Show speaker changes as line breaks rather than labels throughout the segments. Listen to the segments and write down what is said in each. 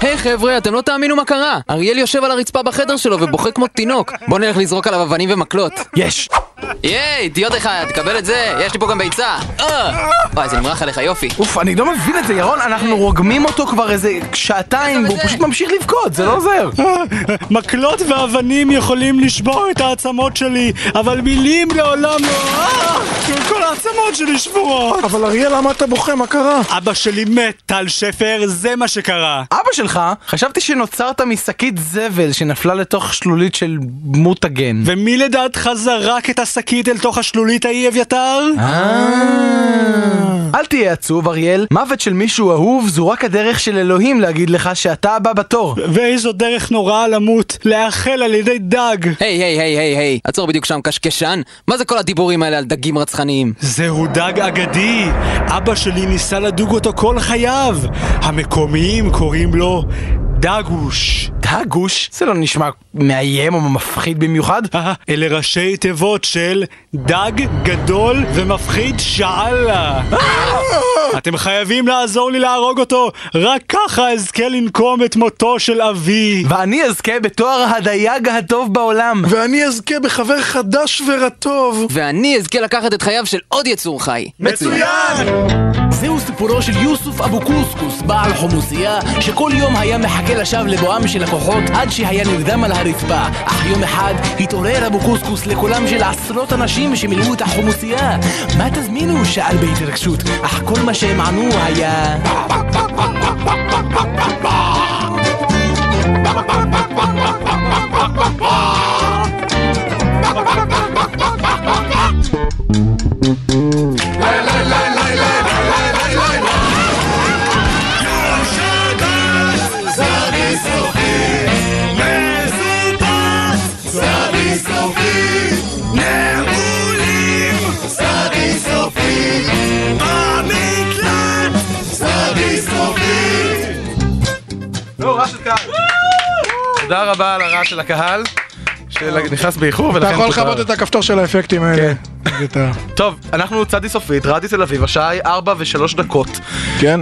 היי חבר'ה, אתם לא תאמינו מה קרה! אריאל יושב על הרצפה בחדר שלו ובוכה כמו תינוק. בוא נלך לזרוק עליו אבנים ומקלות.
יש!
ייי, דיוד אחד, קבל את זה, יש לי פה גם ביצה. אה! וואי, זה נמרח עליך, יופי.
אוף, אני לא מבין את זה, ירון, אנחנו רוגמים אותו כבר איזה שעתיים, והוא פשוט ממשיך לבכות, זה לא עוזר.
מקלות ואבנים יכולים לשבור את העצמות שלי, אבל מילים לעולם לא... אה! כל העצמות שלי שבורות!
אבל אריאל, למה אתה בוכה? מה קרה?
אבא שלי מת, טל שפר, זה מה שקרה.
אבא שלך, חשבתי שנוצרת משקית זבל שנפלה לתוך שלולית של מותגן.
ומי לדעתך זרק את השקית אל תוך השלולית ההיא, אביתר?
אה?
אה. אל תהיה עצוב, אריאל. מוות של מישהו אהוב זו רק הדרך של אלוהים להגיד לך שאתה הבא בתור.
ואיזו דרך נוראה למות, להאכל על ידי דג.
היי, היי, היי, היי, היי, עצור בדיוק שם, קשקשן. מה זה כל הדיבורים האלה על דגים רצחניים?
זהו דג אגדי, אבא שלי ניסה לדוג אותו כל חייו. המקומיים קוראים לו דגוש.
דגוש? זה לא נשמע מאיים או מפחיד במיוחד.
אה, אלה ראשי תיבות של דג גדול ומפחיד שאללה.
אה!
אתם חייבים לעזור לי להרוג אותו, רק ככה אזכה לנקום את מותו של אבי.
ואני אזכה בתואר הדייג הטוב בעולם.
ואני אזכה בחבר חדש ורטוב.
ואני אזכה לקחת את חייו של עוד יצור חי.
זהו סיפורו של יוסוף אבו קוסקוס, בעל חומוסייה, שכל יום היה מחכה לשווא לבואם של הכוחות עד שהיה נרדם על הרצפה. אך יום אחד התעורר אבו קוסקוס לקולם של עשרות אנשים שמילאו את החומוסייה. מה תזמינו? שאל בהתרגשות, אך כל מה שהם ענו היה...
לא, רעש של קהל. תודה רבה על הרעש של הקהל, שנכנס באיחור ולכן...
אתה יכול
תודה.
לכבות את הכפתור של האפקטים האלה. כן.
טוב, אנחנו צדי סופית, רדיו תל אביב, השעה היא 4 ו-3 דקות.
כן.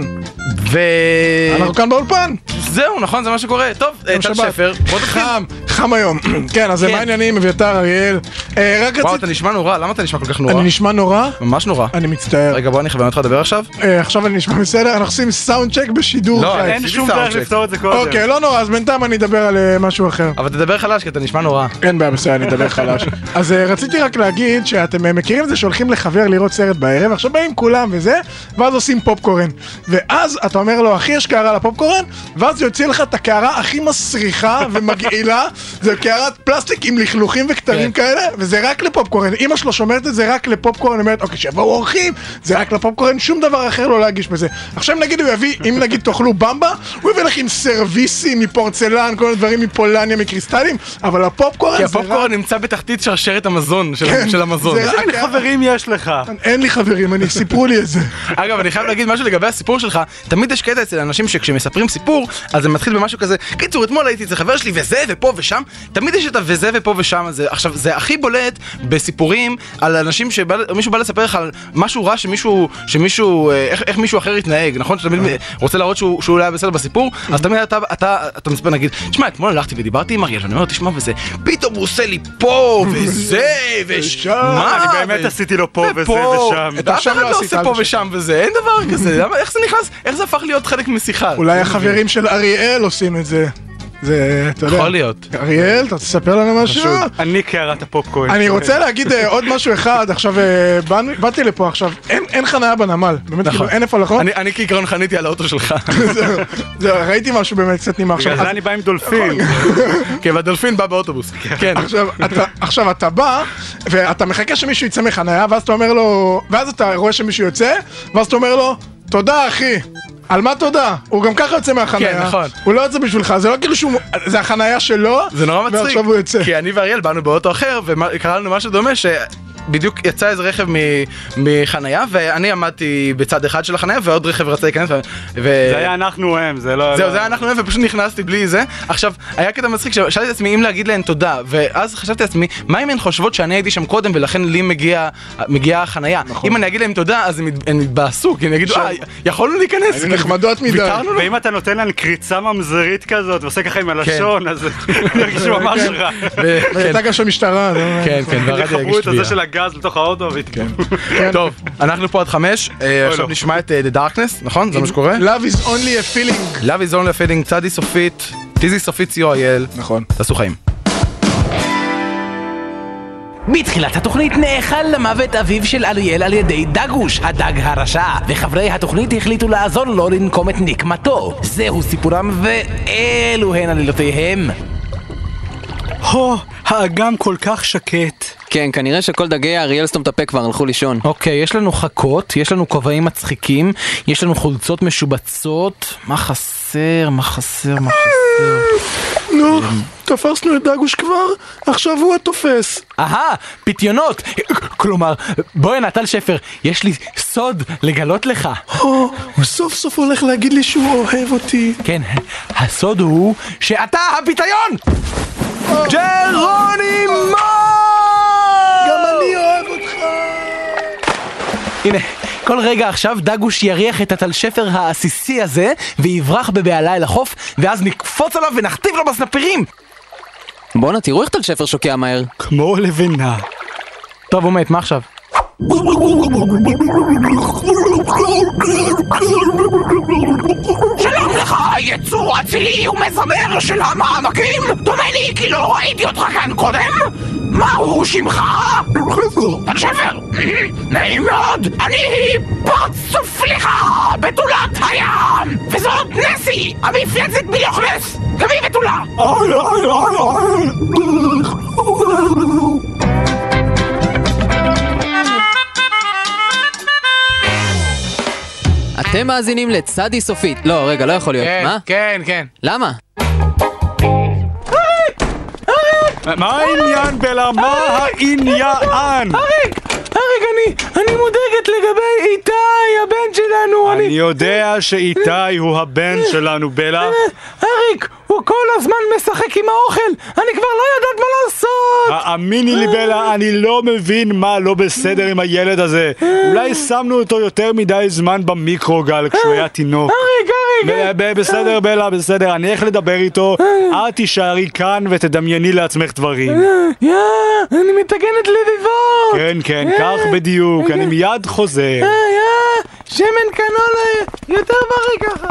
ו... אה,
אנחנו כאן באולפן.
זהו, נכון, זה מה שקורה. טוב, אה, טל
שבת.
שפר, בוא נתחיל.
חם, חם היום. כן, אז
כן.
מה העניינים, אביתר, אריאל? אה, רק
וואו,
רציתי...
אתה נשמע נורא, למה אתה נשמע כל כך נורא?
אני נשמע נורא?
ממש נורא.
אני מצטער.
רגע, בוא אני אכוון אותך לדבר עכשיו.
אה, עכשיו אני נשמע בסדר? אנחנו עושים סאונד צ'ק בשידור
לא,
חי.
אין
אין שום
לי
דרך
soundcheck.
לפתור את זה קודם.
אוקיי, לא נורא, אז בינתיים אני אדבר על אה, משהו אחר.
אבל תדבר חלש, כי אתה נשמע נורא.
אין בעיה, בסדר, אני אדבר חלש. אז אה, רציתי רק להגיד שאתם אה, מכירים את זה שהולכים לחבר לראות סרט בערב, עכשיו באים כולם וזה, ואז עושים פופקורן. ואז אתה אומר לו, אחי, יש קערה לפופקורן, ואז יוציא לך את הקערה הכי מסריחה ומגעילה, זה קערת פלסטיק עם לכלוכים וכתרים
כן.
כאלה, וזה רק לפופקורן. אמא שלו שומרת את זה רק לפופקורן, אומרת, אוקיי, שיבואו אורחים, זה רק לפופקורן, שום דבר אחר לא להגיש בזה. עכשיו נגיד הוא יביא, אם נגיד תאכלו במבה, הוא יביא לך עם סרוויסים מפורצלן, כל מיני דברים מפולניה, מקריסטלים, אבל הפופקורן
כי
זה רק-
הפופקורן נמצא בתחתית שרשרת המזון, של-
כן,
של המזון.
זה רק-
איזה חברים יש לך?
אין לי חברים, אני, סיפרו לי את זה.
אגב, אני חייב להגיד משהו לגבי הסיפור שלך, תמיד יש קטע אצל אנשים שכשמספרים סיפור, אז זה מתחיל במשהו כזה, קיצור, אתמול הייתי אצל חבר שלי וזה ופה ושם, תמיד יש את ה"וזה ופה ושם" הזה. עכשיו, זה הכי בולט בסיפורים על אנשים שמישהו בא לספר לך על משהו רע שמישהו, שמישהו, אה, איך, איך מישהו אחר התנהג, נכון? שאתה
אה.
תמיד רוצה להראות שהוא, שהוא לא היה בסדר בסיפור, אז תמיד אתה, אתה, אתה מספר, נגיד, תשמע, אתמול הלכתי ודיברתי עם אריאל, ואני אומר לו, תשמע, וזה, פתאום הוא עושה לי פה, וזה, וש...
ושם."
מה?
אני באמת
ו-
עשיתי לו פה וזה
ופה.
ושם.
אתה אף
עכשיו
אחד
לא
לא
עשית,
עושה
אל
פה
תשקר.
ושם וזה, אין דבר כזה, למה, איך זה נכנס, איך זה הפך להיות חלק משיחה?
אולי החברים של אריאל עושים את זה. זה, אתה יודע.
יכול להיות.
אריאל, אתה תספר לנו משהו?
אני קערת הפופקורן.
אני רוצה להגיד אה, עוד משהו אחד, עכשיו, אה, באנו- באתי לפה עכשיו, אין- אין חניה בנמל, באמת, כאילו, אין איפה
נכון.
לחנות.
אני, אני כעיקרון חניתי על האוטו שלך,
זהו, זהו, ראיתי משהו באמת קצת נימה עכשיו.
בגלל כן, זה אני בא עם דולפין.
כן, והדולפין בא באוטובוס, כן.
עכשיו אתה, עכשיו אתה בא, ואתה מחכה שמישהו יצא מחניה, ואז אתה אומר לו, ואז אתה רואה שמישהו יוצא, ואז אתה אומר לו, תודה אחי. על מה תודה? הוא גם ככה יוצא מהחניה.
כן, נכון.
הוא לא יוצא בשבילך, זה לא כאילו שהוא... זה החניה שלו,
זה נורא מצחיק, כן,
ועכשיו הוא יוצא.
כי אני ואריאל באנו באוטו אחר וקראנו משהו דומה ש... בדיוק יצא איזה רכב מ- מחנייה, ואני עמדתי בצד אחד של החנייה, ועוד רכב רצה להיכנס, ו...
זה היה אנחנו הם, זה לא...
זהו, זה היה אנחנו, ופשוט נכנסתי בלי זה. עכשיו, היה קטע מצחיק, ששאלתי את עצמי אם להגיד להן תודה, ואז חשבתי לעצמי, מה אם הן חושבות שאני הייתי שם קודם ולכן לי מגיע- מגיעה החנייה?
נכון.
אם אני אגיד להן תודה, אז הן מת- הן יתבאסו, כי הן יגידו, אה, יכולנו להיכנס.
הן נחמדות מדי.
ויתרנו לו.
ואם אתה נותן להם קריצה ממזרית כזאת, ועושה ככה עם
כן.
הלשון, אז הם ירגישו ממש רע.
ו- כן,
הייתה גם שם משטרה, זה- לא-
כן, כן, והרדיו ירגיש
יחברו את הזה
תביעה.
של הגז לתוך האוטו, ויתקעו.
כן.
טוב, אנחנו פה עד חמש, אה, עכשיו
לא.
נשמע את אה, The Darkness, נכון? זה מה שקורה?
Love is only a feeling.
Love is only a feeling, צדי סופית, טיזי סופית co.il,
נכון.
תעשו חיים.
בתחילת התוכנית נאכל למוות אביו של אריאל על ידי דגוש, הדג הרשע, וחברי התוכנית החליטו לעזור לו לנקום את נקמתו. זהו סיפורם ואלו הן עלילותיהם.
הו, האגם כל כך שקט.
כן, כנראה שכל דגי האריאל סתום את הפה כבר הלכו לישון.
אוקיי, יש לנו חכות, יש לנו כובעים מצחיקים, יש לנו חולצות משובצות. מה חסר? מה חסר? מה חסר?
נו, תפסנו את דגוש כבר, עכשיו הוא התופס.
אהה, פיתיונות! כלומר, בואי נטל שפר, יש לי סוד לגלות לך.
או, הוא סוף סוף הולך להגיד לי שהוא אוהב אותי.
כן, הסוד הוא שאתה הפיתיון! ג'רונימו!
גם אני אוהב אותך.
הנה, כל רגע עכשיו דגוש יריח את הטל שפר העסיסי הזה, ויברח בבהלה אל החוף, ואז נקפוץ עליו ונכתיב לו בסנפירים!
בואנה, תראו איך טל שפר שוקע מהר.
כמו לבנה.
טוב, הוא מת, מה עכשיו? שלום לך, יצור אצילי ומזמר של המעמקים! דומה לי כי לא ראיתי אותך כאן קודם! מהו שמך? טל שפר! נעים מאוד! אני פרצוף לך בתולת הים! וזאת נסי, המפלצת מלוכנס! גם היא בתולה!
אתם מאזינים לצדי סופית. לא, רגע, לא יכול להיות. מה?
כן, כן.
למה?
מה העניין בלה? מה העניין?
אריק! אריק, אני, אני מודאגת לגבי איתי, הבן שלנו,
אני
אני...
יודע שאיתי הוא הבן שלנו בלה.
אריק, הוא כל הזמן משחק עם האוכל, אני כבר לא יודעת מה לעשות!
אה, האמיני לי בלה, אני לא מבין מה לא בסדר עם הילד הזה. אולי שמנו אותו יותר מדי זמן במיקרוגל כשהוא היה תינוק.
אריק, אריק!
ב- ב- בסדר בלה, בסדר, אני אלך לדבר איתו, את תישארי כאן ותדמייני לעצמך דברים.
יא, אני מתאגנת לביבות!
כן, כן, כך בדיוק, אני מיד חוזר.
אה, יא, שמן קנולה, יותר בריא ככה!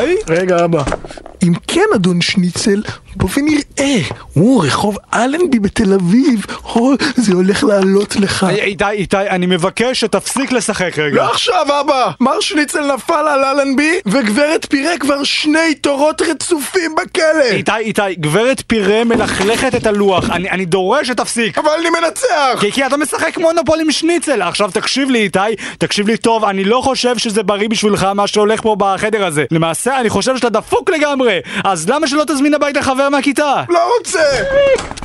איתי?
רגע, אבא.
אם כן, אדון שניצל, בוא ונראה. או, רחוב אלנבי בתל אביב. או, זה הולך לעלות לך.
איתי, איתי, אני מבקש שתפסיק לשחק רגע.
לא עכשיו, אבא! מר שניצל נפל על אלנבי, וגברת פירה כבר שני תורות רצופים בכלא!
איתי, איתי, גברת פירה מלכלכת את הלוח, אני, אני דורש שתפסיק.
אבל אני מנצח!
כי, כי אתה משחק מונופול עם שניצל. עכשיו תקשיב לי איתי, תקשיב לי טוב, אני לא חושב שזה בריא בשבילך מה שהולך פה בחדר הזה. למעשה, אני חושב שאתה דפוק לגמרי, אז למה שלא תזמין הביתה חבר מהכיתה?
לא רוצה!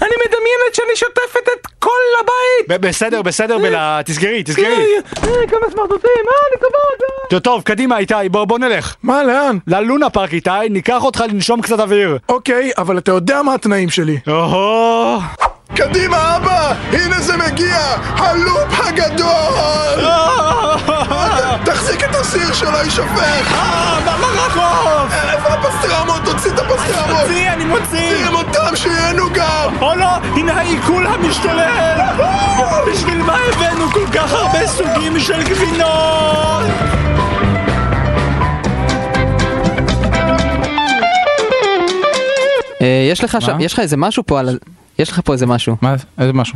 אני מדמיינת שאני שוטפת את כל הבית!
ב- בסדר, בסדר, בלה, תסגרי, תסגרי.
אה, אה, כמה סמרטוטים, אה, אני קובעת! אה.
טוב, טוב, קדימה איתי, בוא, בוא נלך.
מה, לאן?
ללונה פארק איתי, ניקח אותך לנשום קצת אוויר.
אוקיי, אבל אתה יודע מה התנאים שלי.
אוהו.
קדימה, אבא! הנה זה מגיע! הלופ הגדול!
אה,
תחזיק את הסיר שלא יישפך!
מרקוב!
איפה הפסטרמות? תוציא את הפסטרמות!
אני מוציא!
עם אותם שיהנו גם!
או לא, הנה העיכול המשתולל! בשביל מה הבאנו כל כך הרבה סוגים של גבינות?
אה, יש לך שם, יש לך איזה משהו פה על... ה- יש לך פה איזה משהו.
מה? איזה משהו.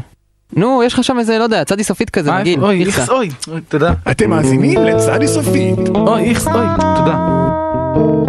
נו, יש לך שם איזה, לא יודע, צדי סופית כזה, נגיד.
אוי,
איכסה.
איכס, אוי, תודה.
אתם מאזינים לצדי סופית.
אוי, איכס, אוי, תודה.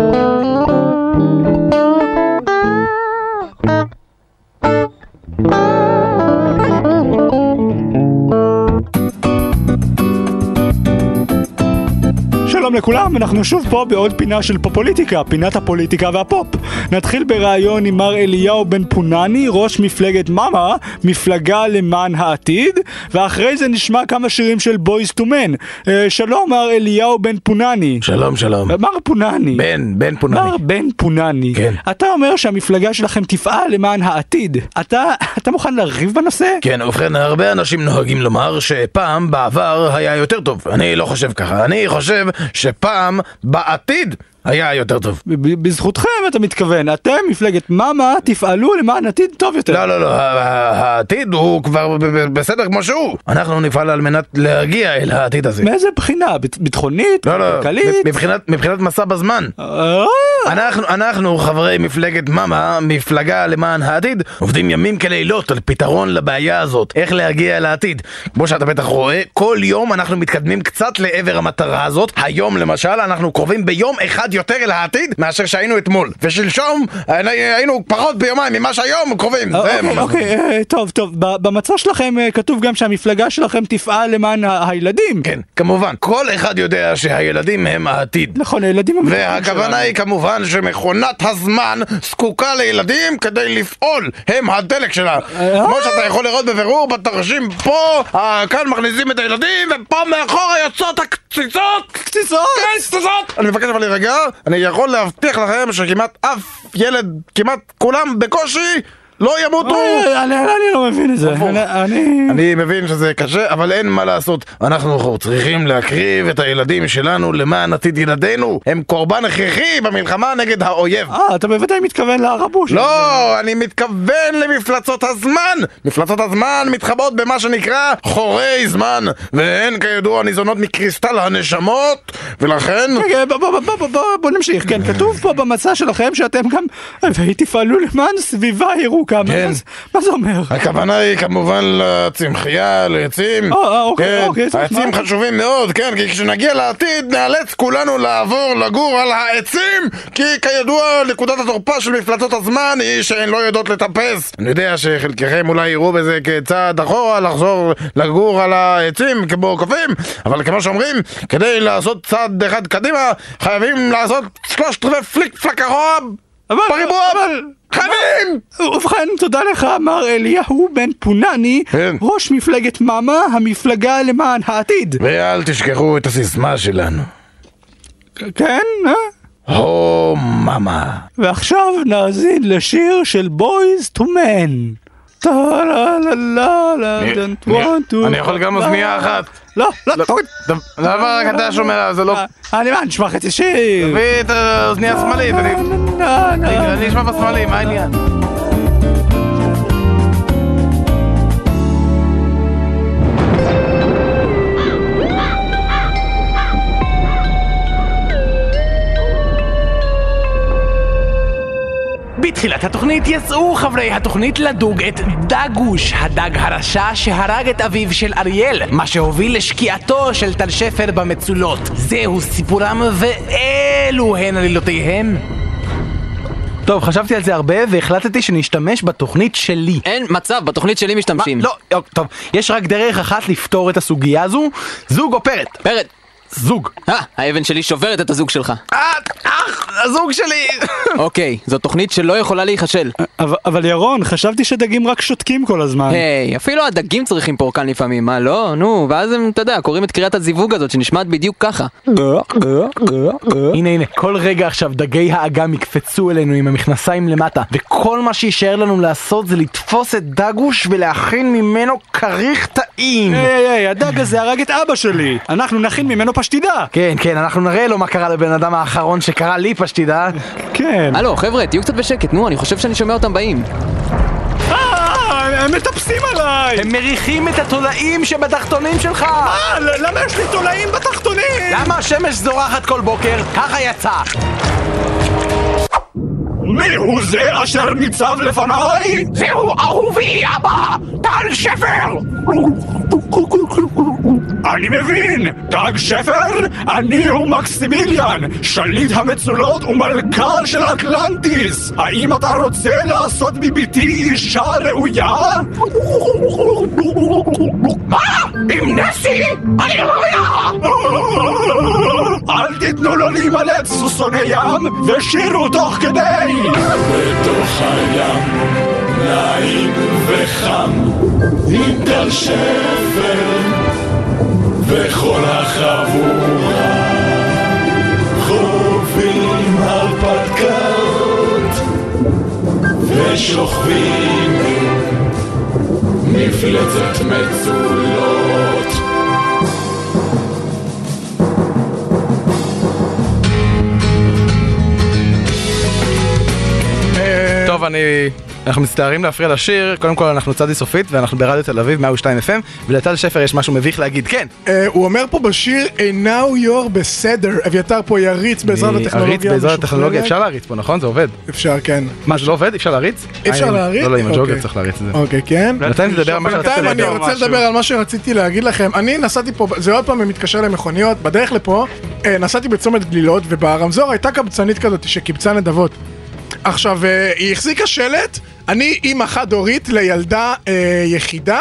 שלום לכולם, אנחנו שוב פה בעוד פינה של פופוליטיקה, פינת הפוליטיקה והפופ. נתחיל בריאיון עם מר אליהו בן פונני, ראש מפלגת מאמה, מפלגה למען העתיד, ואחרי זה נשמע כמה שירים של בויז טו מן. אה, שלום מר אליהו בן פונני.
שלום, שלום.
אה, מר פונני.
בן, בן פונני.
מר בן פונני,
כן.
אתה אומר שהמפלגה שלכם תפעל למען העתיד. אתה, אתה מוכן לריב בנושא?
כן, ובכן, הרבה אנשים נוהגים לומר שפעם בעבר היה יותר טוב. אני לא חושב ככה. אני חושב שפעם בעתיד היה יותר טוב.
ב- ב- בזכותכם אתה מתכוון, אתם מפלגת מאמה תפעלו למען עתיד טוב יותר.
לא, לא, לא, ה- ה- העתיד הוא כבר ב- ב- בסדר כמו שהוא. אנחנו נפעל על מנת להגיע אל העתיד הזה.
מאיזה בחינה? בית- ביטחונית?
לא, לא,
כלכלית?
מבחינת- מבחינת מסע בזמן.
אה,
אנחנו, אנחנו, חברי מפלגת מאמה, מפלגה למען העתיד, עובדים ימים כלילות על פתרון לבעיה הזאת, איך להגיע לעתיד. כמו שאתה בטח רואה, כל יום אנחנו מתקדמים קצת לעבר המטרה הזאת. היום, למשל, אנחנו קרובים ביום אחד יותר אל העתיד מאשר שהיינו אתמול. ושלשום אה, היינו פחות ביומיים ממה שהיום קרובים. זה
אוקיי,
ממש-
אוקיי, אה, טוב, טוב, ב- במצע שלכם אה, כתוב גם שהמפלגה שלכם תפעל למען ה- הילדים.
כן, כמובן. כל אחד יודע שהילדים הם העתיד.
נכון, הילדים הם...
והכוונה היא כמובן שמכונת הזמן זקוקה לילדים כדי לפעול, הם הדלק שלה. כמו שאתה יכול לראות בבירור בתרשים פה, אה, כאן מכניסים את הילדים, ופה מאחורה יוצאות הקציצות! קציצות? כן, קציצות! אני מבקש אבל להירגע, אני יכול להבטיח לכם שכמעט אף ילד, כמעט כולם בקושי, לא ימותו!
אה, אני אני לא מבין את זה. אני- אני...
אני מבין שזה קשה, אבל אין מה לעשות. אנחנו צריכים להקריב את הילדים שלנו למען עתיד ילדינו. הם קורבן הכרחי במלחמה נגד האויב.
אה, אתה בוודאי מתכוון לערבוש.
לא, אני מתכוון למפלצות הזמן! מפלצות הזמן מתחבאות במה שנקרא חורי זמן, והן כידוע ניזונות מקריסטל הנשמות, ולכן...
רגע, בוא, בוא, בוא, בוא, בוא, בוא נמשיך, כן, כתוב פה במצע שלכם שאתם גם תפעלו למען סביבה ירוקה, מה
כן.
זה- מה זה אומר?
הכוונה היא כמובן לצמחייה, לעצים.
אה, אה, אוקיי,
כן,
אוקיי, זאת
העצים
אומרת-
חשובים מאוד, כן, כי כשנגיע לעתיד נאלץ כולנו לעבור לגור על העצים, כי כידוע נקודת התורפה של מפלצות הזמן היא שהן לא יודעות לטפס. אני יודע שחלקכם אולי יראו בזה כצעד אחורה לחזור לגור על העצים כמו קופים, אבל כמו שאומרים, כדי לעשות צעד אחד קדימה, חייבים לעשות שלושת רבעי פליק פלק אחורה
אבל-
בריבוע.
אבל-
חייבים!
ובכן, תודה לך, מר אליהו בן פונני,
כן.
ראש מפלגת מאמה, המפלגה למען העתיד.
ואל תשכחו את הסיסמה שלנו.
כן, אה?
הו מאמה.
ועכשיו נאזין לשיר של בויז טו מן. טה לה לה לה לה, don't want to-
אני יכול גם אוזנייה אחת.
לא, לא, תוריד.
אוקיי.
למה רק אתה שומע? זה לא...
אה, אני מה, נשמע חצי שיר. אה,
תביא את האוזנייה השמאלית, אני-
נה, נה, נה.
אני אשמע בשמאלי, מה העניין?
בתחילת התוכנית יצאו חברי התוכנית לדוג את דגוש, הדג הרשע שהרג את אביו של אריאל, מה שהוביל לשקיעתו של טל שפר במצולות. זהו סיפורם ואלו הן עלילותיהם.
טוב, חשבתי על זה הרבה והחלטתי שנשתמש בתוכנית שלי.
אין מצב, בתוכנית שלי משתמשים.
לא, יוק, טוב, יש רק דרך אחת לפתור את הסוגיה הזו, זוג או פרט.
פרד,
זוג.
אה, האבן שלי שוברת את הזוג שלך.
אה, אח, הזוג שלי!
אוקיי, זו תוכנית שלא יכולה להיכשל.
אבל- אבל ירון, חשבתי שדגים רק שותקים כל הזמן.
היי, אפילו הדגים צריכים פורקן לפעמים, מה לא? נו, ואז הם, אתה יודע, קוראים את קריאת הזיווג הזאת שנשמעת בדיוק ככה.
הנה הנה, כל רגע עכשיו דגי האגם יקפצו אלינו עם המכנסיים למטה, וכל מה שיישאר לנו לעשות זה לתפוס את דגוש ולהכין ממנו כריך טעים.
היי היי היי, אה, הדג הזה הרג את אבא שלי! אנחנו נכין ממנו פשטידה!
כן, כן, אנחנו נראה לו מה קרה לבן אדם האחרון שקרא לי פשטידה.
כן.
הלו, חבר'ה, תהיו קצת בשקט, נו, אני חושב שאני שומע אותם באים.
אה, הם מטפסים עליי!
הם מריחים את התולעים שבתחתונים שלך!
אה, ל- למה יש לי תולעים בתחתונים?
למה השמש זורחת כל בוקר? ככה יצא.
מי הוא זה אשר ניצב לפניי? זהו אהובי אבא! טל שפר!
אני מבין! דג שפר, אני הוא מקסימיליאן, שליט המצולות ומלכה של אטלנטיס! האם אתה רוצה לעשות מביתי אישה ראויה? מה? עם נסי? אני ראויה! אל תיתנו לו להימלט, סוסוני ים, ושירו תוך כדי! בתוך הים, נעים וחם, עם דל שפל, וכל החבורה חווים הרפתקאות, ושוכבים מפלצת מצולות.
טוב, אני... אנחנו מצטערים להפריע לשיר, קודם כל אנחנו צדי סופית ואנחנו ברדיו תל אביב 102 FM ולטל שפר יש משהו מביך להגיד, כן!
אה, הוא אומר פה בשיר, "And now you're בסדר. אביתר פה יריץ בעזרת
אני
הטכנולוגיה
אריץ בעזרת
המשוכללת.
הטכנולוגיה אפשר להריץ פה, נכון? זה עובד.
אפשר, כן.
מה, זה לא עובד? אי אפשר להריץ?
אי אפשר
אה,
להריץ?
לא, לא, עם הג'וגר
אוקיי.
צריך להריץ את זה.
אוקיי, כן.
בינתיים תדבר על מה שרצית
בינתיים אני
להגיד.
רוצה לדבר על מה שרציתי להגיד לכם. אני נסעתי פה, זה עוד פעם מתקשר למכוניות, בדרך לפה, אה, נסעתי בצומת גלילות, וברמזור הייתה קבצנית כזאת שקיבצה נדבות. עכשיו, אה, היא החזיקה שלט, אני אימא חד-הורית לילדה אה, יחידה,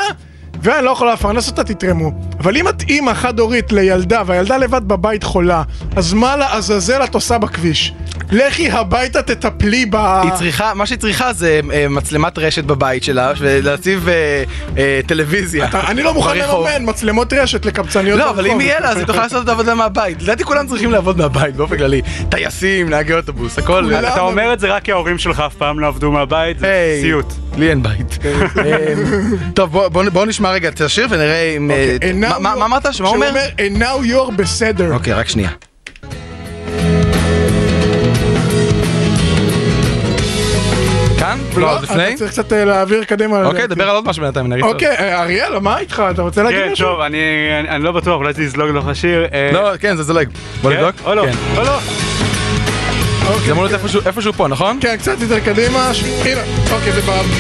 ואני לא יכולה לפרנס אותה, תתרמו. אבל אם את אימא חד-הורית לילדה, והילדה לבד בבית חולה, אז מה לעזאזל את עושה בכביש? לכי הביתה, תטפלי ב...
היא צריכה, מה שהיא צריכה זה אה, מצלמת רשת בבית שלה ולהציב אה, אה, טלוויזיה.
אתה- אני לא מוכן
ברחוב.
לממן מצלמות רשת לקבצניות
לא,
ברחוב.
אבל אם יהיה לה, אז היא תוכל לעשות את העבודה מהבית. לדעתי כולם צריכים לעבוד מהבית באופן כללי. טייסים, נהגי אוטובוס, הכל.
כולם.
אתה אומר את זה רק כי ההורים שלך אף פעם לא עבדו מהבית, זה
היי,
סיוט.
לי אין בית. אמ, טוב, בוא- בוא בוא נשמע רגע את השיר ונראה אם... אה,
And now
מה- מה
you're-
מה אמרת? שמה הוא אומר?
And now you're בסדר.
אוקיי, רק שנייה. כאן? לא,
לא,
עוד לפני?
אתה צריך קצת אה, להעביר קדימה.
אוקיי,
לדעתי.
דבר על עוד משהו בינתיים, נריץ עוד.
אוקיי, אה, אריאל, מה איתך? אתה רוצה להגיד
כן,
משהו?
טוב, אני אני- אני לא בטוח, אולי זה יזלוג לך שיר. אה,
לא, כן, זה זולג. בוא
כן?
נבדוק.
או לא,
כן.
או לא.
זה אמור להיות איפשהו- איפשהו פה, נכון?
כן, קצת יותר קדימה. ש- הנה, אוקיי, זה ב- בוורסיה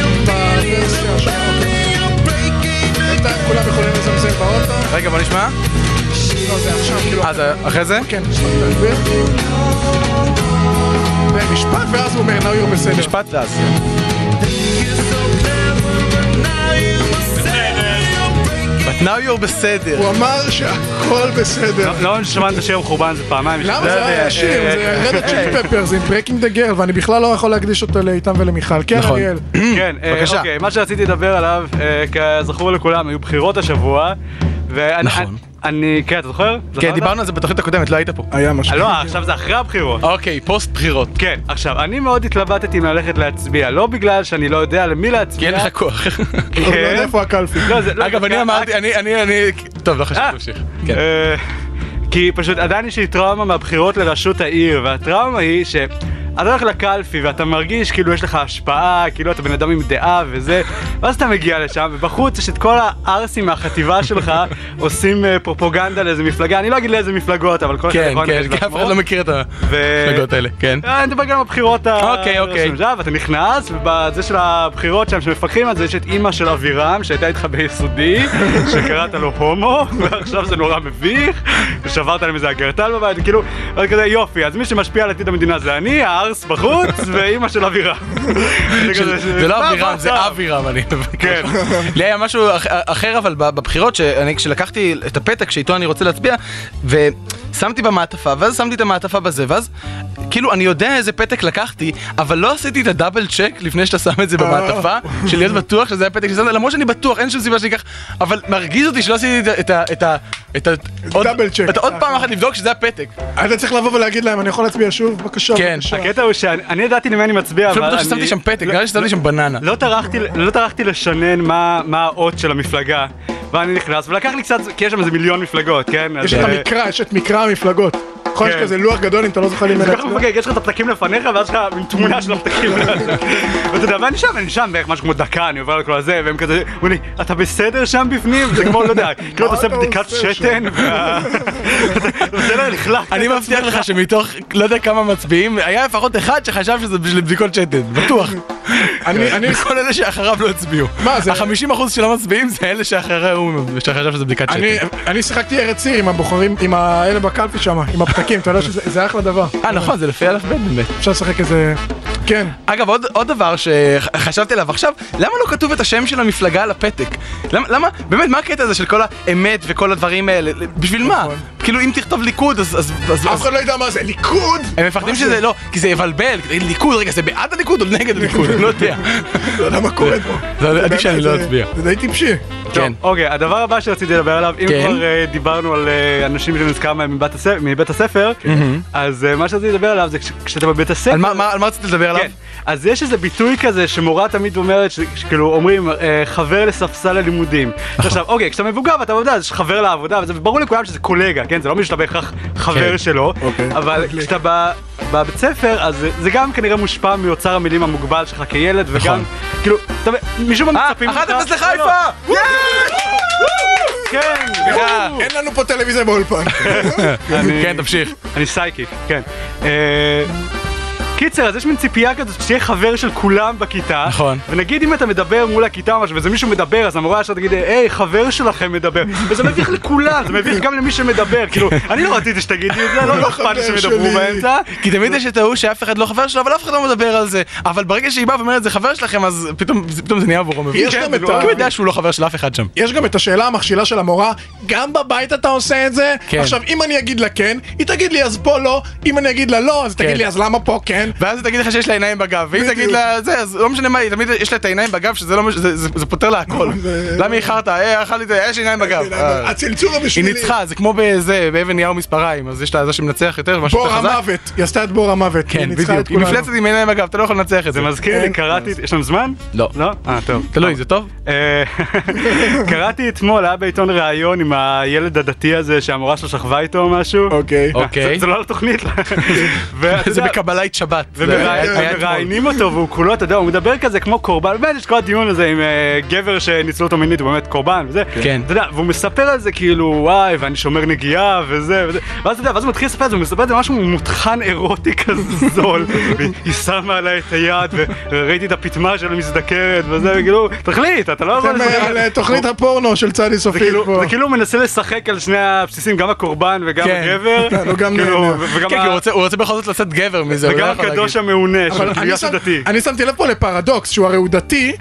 שם. בינתיים אוקיי. כולם יכולים לזמזם באוטו.
רגע, בוא נשמע.
לא, זה עכשיו, כאילו...
אה, זה אחרי זה?
כן, יש לך את ההסבר. זה אה, משפט, ואז הוא אומר, now you're בסדר.
משפט ואז. But now you're בסדר.
הוא אמר שהכל בסדר.
לא שמענו את השיר מחורבן זה פעמיים. אה,
למה
לא
זה היה ישיר?
אה,
זה רד הצ'יפ פפרס עם ברקינג דה גרל, ואני בכלל לא יכול להקדיש אותו לאיתם ולמיכל. כן,
נכון.
אריאל.
כן, אה,
בבקשה.
אוקיי, מה שרציתי לדבר עליו, אה, כזכור לכולם, היו בחירות השבוע. ואני-
נכון.
אני, כן, אתה זוכר?
כן,
זכרת?
דיברנו על זה בתוכנית הקודמת, לא היית פה.
היה משהו.
לא, עכשיו זה אחרי הבחירות.
אוקיי, פוסט בחירות.
כן, עכשיו, אני מאוד התלבטתי אם ללכת להצביע, לא בגלל שאני לא יודע למי
כי אין
להצביע. כן.
לך כוח.
אני לא יודע איפה הקלפי.
לא, זה- לא,
אה. אגב,
זה-
אני אמרתי, אני, אני, אני... טוב, לא חשוב,
אה,
תמשיך. כן.
אה, כי פשוט עדיין יש לי טראומה מהבחירות לראשות העיר, והטראומה היא ש... אתה הולך לקלפי ואתה מרגיש כאילו יש לך השפעה, כאילו אתה בן אדם עם דעה וזה, ואז אתה מגיע לשם, ובחוץ יש את כל הערסים מהחטיבה שלך עושים אה, פרופוגנדה לאיזה מפלגה, אני לא אגיד לאיזה מפלגות, אבל כל אחד
כן,
יכול
כן, כי אף אחד לא מכיר את המפלגות האלה, כן.
אה, אני מדבר גם על הבחירות ה...
אוקיי, אוקיי.
שם, ואתה נכנס, ובזה של הבחירות שם, שמפקחים על זה, יש את אימא של אבירם, שהייתה איתך ביסודי, שקראת לו הומו, ועכשיו זה נורא מביך, ושברת להם איזה אגרטל בבית, כאילו, אז כזה יופי, אז מי שמשפיע על עתיד המדינה זה אני, הארס בחוץ, ואימא של אבירם. זה כזה,
זה לא
מה
אבירם, זה
המצב?
אבירם, אני מבקש.
כן.
לי היה משהו אח- אחר, אבל ב- בבחירות, שאני- כשלקחתי את הפתק שאיתו אני רוצה להצביע, ושמתי במעטפה, ואז שמתי את המעטפה בזה, ואז כאילו, אני יודע איזה פתק לקחתי, אבל לא עשיתי את הדאבל צ'ק לפני שאתה שם את זה במעטפה,
אה.
של להיות בטוח שזה הפתק ששמת, למרות שאני בטוח, אין שום סיבה שאני אקח, אבל מרגיז אותי שלא עשיתי את ה- את ה... את ה... את ה... עוד-
דאבל צ'ק.
את ה- עוד פעם אחת לבדוק שזה הפתק.
אתה צריך לבוא ולהגיד להם, אני יכול להצביע שוב? בבקשה,
כן.
בבקשה.
הקטע הוא שאני אני ידעתי למי אני מצביע, אבל
פשוט
אני...
לא בטוח ששמתי שם פתק, נראה לי ששמתי שם בננה.
לא טרחתי, לא טרחתי לשנן מה, מה האות של המפלגה, ואני נכנס, ולקח לי קצת, כי יש שם איזה מיליון מפלגות, כן?
יש
אז,
את
אה,
המקרא, יש את מקרא המפלגות. נכון, יש
כן.
כזה לוח גדול אם אתה לא זוכר
זה
ממנו.
כל כך מפגג, יש לך את הפתקים לפניך, ואז יש לך מין תמונה של הפתקים. ואתה יודע, ואני שם, אני שם בערך משהו כמו דקה, אני עובר על כל הזה, והם כזה, אומרים לי, אתה בסדר שם בפנים? זה כמו, לא יודע, כאילו אתה עושה
אתה
בדיקת
עושה
שתן, וה- אתה בסדר, לכלכת.
אני מבטיח לך שמתוך לא יודע כמה מצביעים, היה לפחות אחד שחשב שזה בשביל בדיקות שתן, בטוח.
אני, אני,
כל אלה שאחריו לא הצביעו.
מה, זה-
ה-50% שלא מצביעים זה אלה שאחרי הוא, שחשב שזה בדיקת שקר.
אני, אני שיחקתי ארץ עיר עם הבוחרים, עם האלה בקלפי שם, עם הפתקים, אתה יודע שזה זה אחלה דבר.
אה, נכון, זה לפי אלף בית באמת.
אפשר לשחק איזה... כן.
אגב, עוד, עוד דבר שחשבתי עליו עכשיו, למה לא כתוב את השם של המפלגה על הפתק? למה, למה, באמת, מה הקטע הזה של כל האמת וכל הדברים האלה? בשביל מה? כאילו, אם תכתוב ליכוד, אז... אז, אז,
אף
אז
אחד לא ידע מה זה, ליכוד!
הם מפחדים שזה לא, כי זה יבלבל, כי תגיד, ליכוד, רגע, זה בעד הליכוד או נגד הליכוד? אני לא יודע.
לא יודע מה קורה פה.
זה עדיף שאני לא
זה-
אצביע.
זה די טיפשי.
כן.
אוקיי, הדבר הבא שרציתי לדבר עליו, אם
כן.
כבר אה, דיברנו על אה, אנשים שנזכר מהם מבית הס- מבית הספר, אז אה, מה שרציתי לדבר עליו זה כש- כשאתה בבית הספר...
על מה- מה על מה רצית לדבר עליו?
כן. אז יש איזה ביטוי כזה שמורה תמיד אומרת, ש- שכאילו אומרים אה, חבר לספסל הלימודים.
נכון.
עכשיו, אוקיי, כשאתה מבוגר ואתה יודע, אז יש חבר לעבודה, וזה ברור לכולם שזה קולגה, כן? זה לא מישהו שאתה בהכרח
כן.
חבר שלו,
אוקיי.
אבל כשאתה ב- בבית ספר, אז זה- זה גם כנראה מושפע מאוצר המילים המוגבל שלך כילד, וגם, כאילו, אתה- משום מה מצפים
נכון. אה, כן. אחת אפס
לא, לא.
לחיפה!
כן,
אין לנו פה טלוויזיה באולפן.
אני-
כן, תמשיך.
אני סייקי, כן. אה, קיצר, אז יש מין ציפייה כזאת שתהיה חבר של כולם בכיתה.
נכון.
ונגיד אם אתה מדבר מול הכיתה או משהו, וזה מישהו מדבר, אז המורה ישר תגיד, היי, חבר שלכם מדבר. וזה מביך לכולם, זה מביך גם למי שמדבר. כאילו, אני לא רציתי שתגידי את זה, לא לא אכפת לי
חבר
שמדברו
שלי.
באמצע.
כי תמיד יש את ההוא שאף אחד לא חבר שלו, אבל אף אחד לא מדבר על זה. אבל ברגע שהיא באה ואומרת זה חבר שלכם, אז פתאום זה- פתאום זה נהיה עבורו מביך.
יש
כן,
גם את
הוא
ה-
הוא יודע שהוא לא חבר של אף אחד שם.
יש גם את השאלה המכשילה של המורה, גם בבית אתה עושה את זה?
כן.
עכשיו, אם אני אגיד לה כן, היא תגיד לי אז פה לא, אם אני אגיד לה לא, אז תגיד
כן.
לי אז למה פה כן?
ואז היא תגיד לך שיש לה עיניים בגב, ואם תגיד לה זה, אז לא משנה מה, היא תמיד יש לה את העיניים בגב, שזה לא, מש- זה- זה זה פותר לה הכל. למה איחרת? אה, אכל לי את זה, יש לי עיניים בגב. אה,
אוקיי, הצלצול
היא
הבשבילי.
ניצחה, זה כמו בזה, באבן נייר ומספריים, אז יש לה זה שמנצח יותר, משהו
בור
יותר חזק.
המוות, היא עשתה את בור המוות.
כן,
ניצחה
בדיוק.
את
היא
כולנו.
מפלצת עם עיניים בגב, אתה לא יכול לנצח את זה.
זה מזכיר לי,
אין.
כאילו, קראתי, יש לנו זמן?
לא.
לא? אה, טוב.
תלוי, זה טוב?
אה, קראתי אתמול, היה בעיתון ראיון עם הילד הדתי הזה שהמורה שלו שכבה איתו או משהו.
אוקיי.
אוקיי.
זה- זה לא על התוכנית. ואתה
זה
יודע,
בקבלית שבת. זה היה- היה אתמול.
ומראיינים אותו והוא כולו, אתה יודע, הוא מדבר כזה כמו קורבן, באמת יש כל הדיון הזה עם אה, גבר שניצלו אותו מינית, הוא באמת קורבן וזה.
כן.
אתה יודע, והוא מספר על זה כאילו, וואי, ואני שומר נגיעה וזה וזה. ואז אתה יודע, ואז הוא מתחיל לספר על זה, הוא מספר על זה משהו מותחן אירוטי כזה זול. והיא שמה עליי את היד, וראיתי את הפטמה של המזדקרת וזה, וכאילו, תחליט, אתה לא יכול...
אתם
לשחק
אה,
כאילו-
על
על
זה."
אה, תוכנית הפורנו של צדי
זה
סופי
כאילו,
פה.
זה כאילו הוא מנסה לשחק על שני הבסיסים, גם הקורבן וגם
כן.
הגבר.
הוא גם
כאילו,
נהנה.
ו- וגם
כן, כי הוא
ה-
רוצה- הוא רוצה בכל זאת לצאת גבר מזה, הוא לא
וגם
יכול להגיד.
הקדוש המעונה,
אבל
של
אני
בגלל
שם-
שהוא דתי.
אני שמתי לב פה לפרדוקס, שהוא הרי הוא דתי.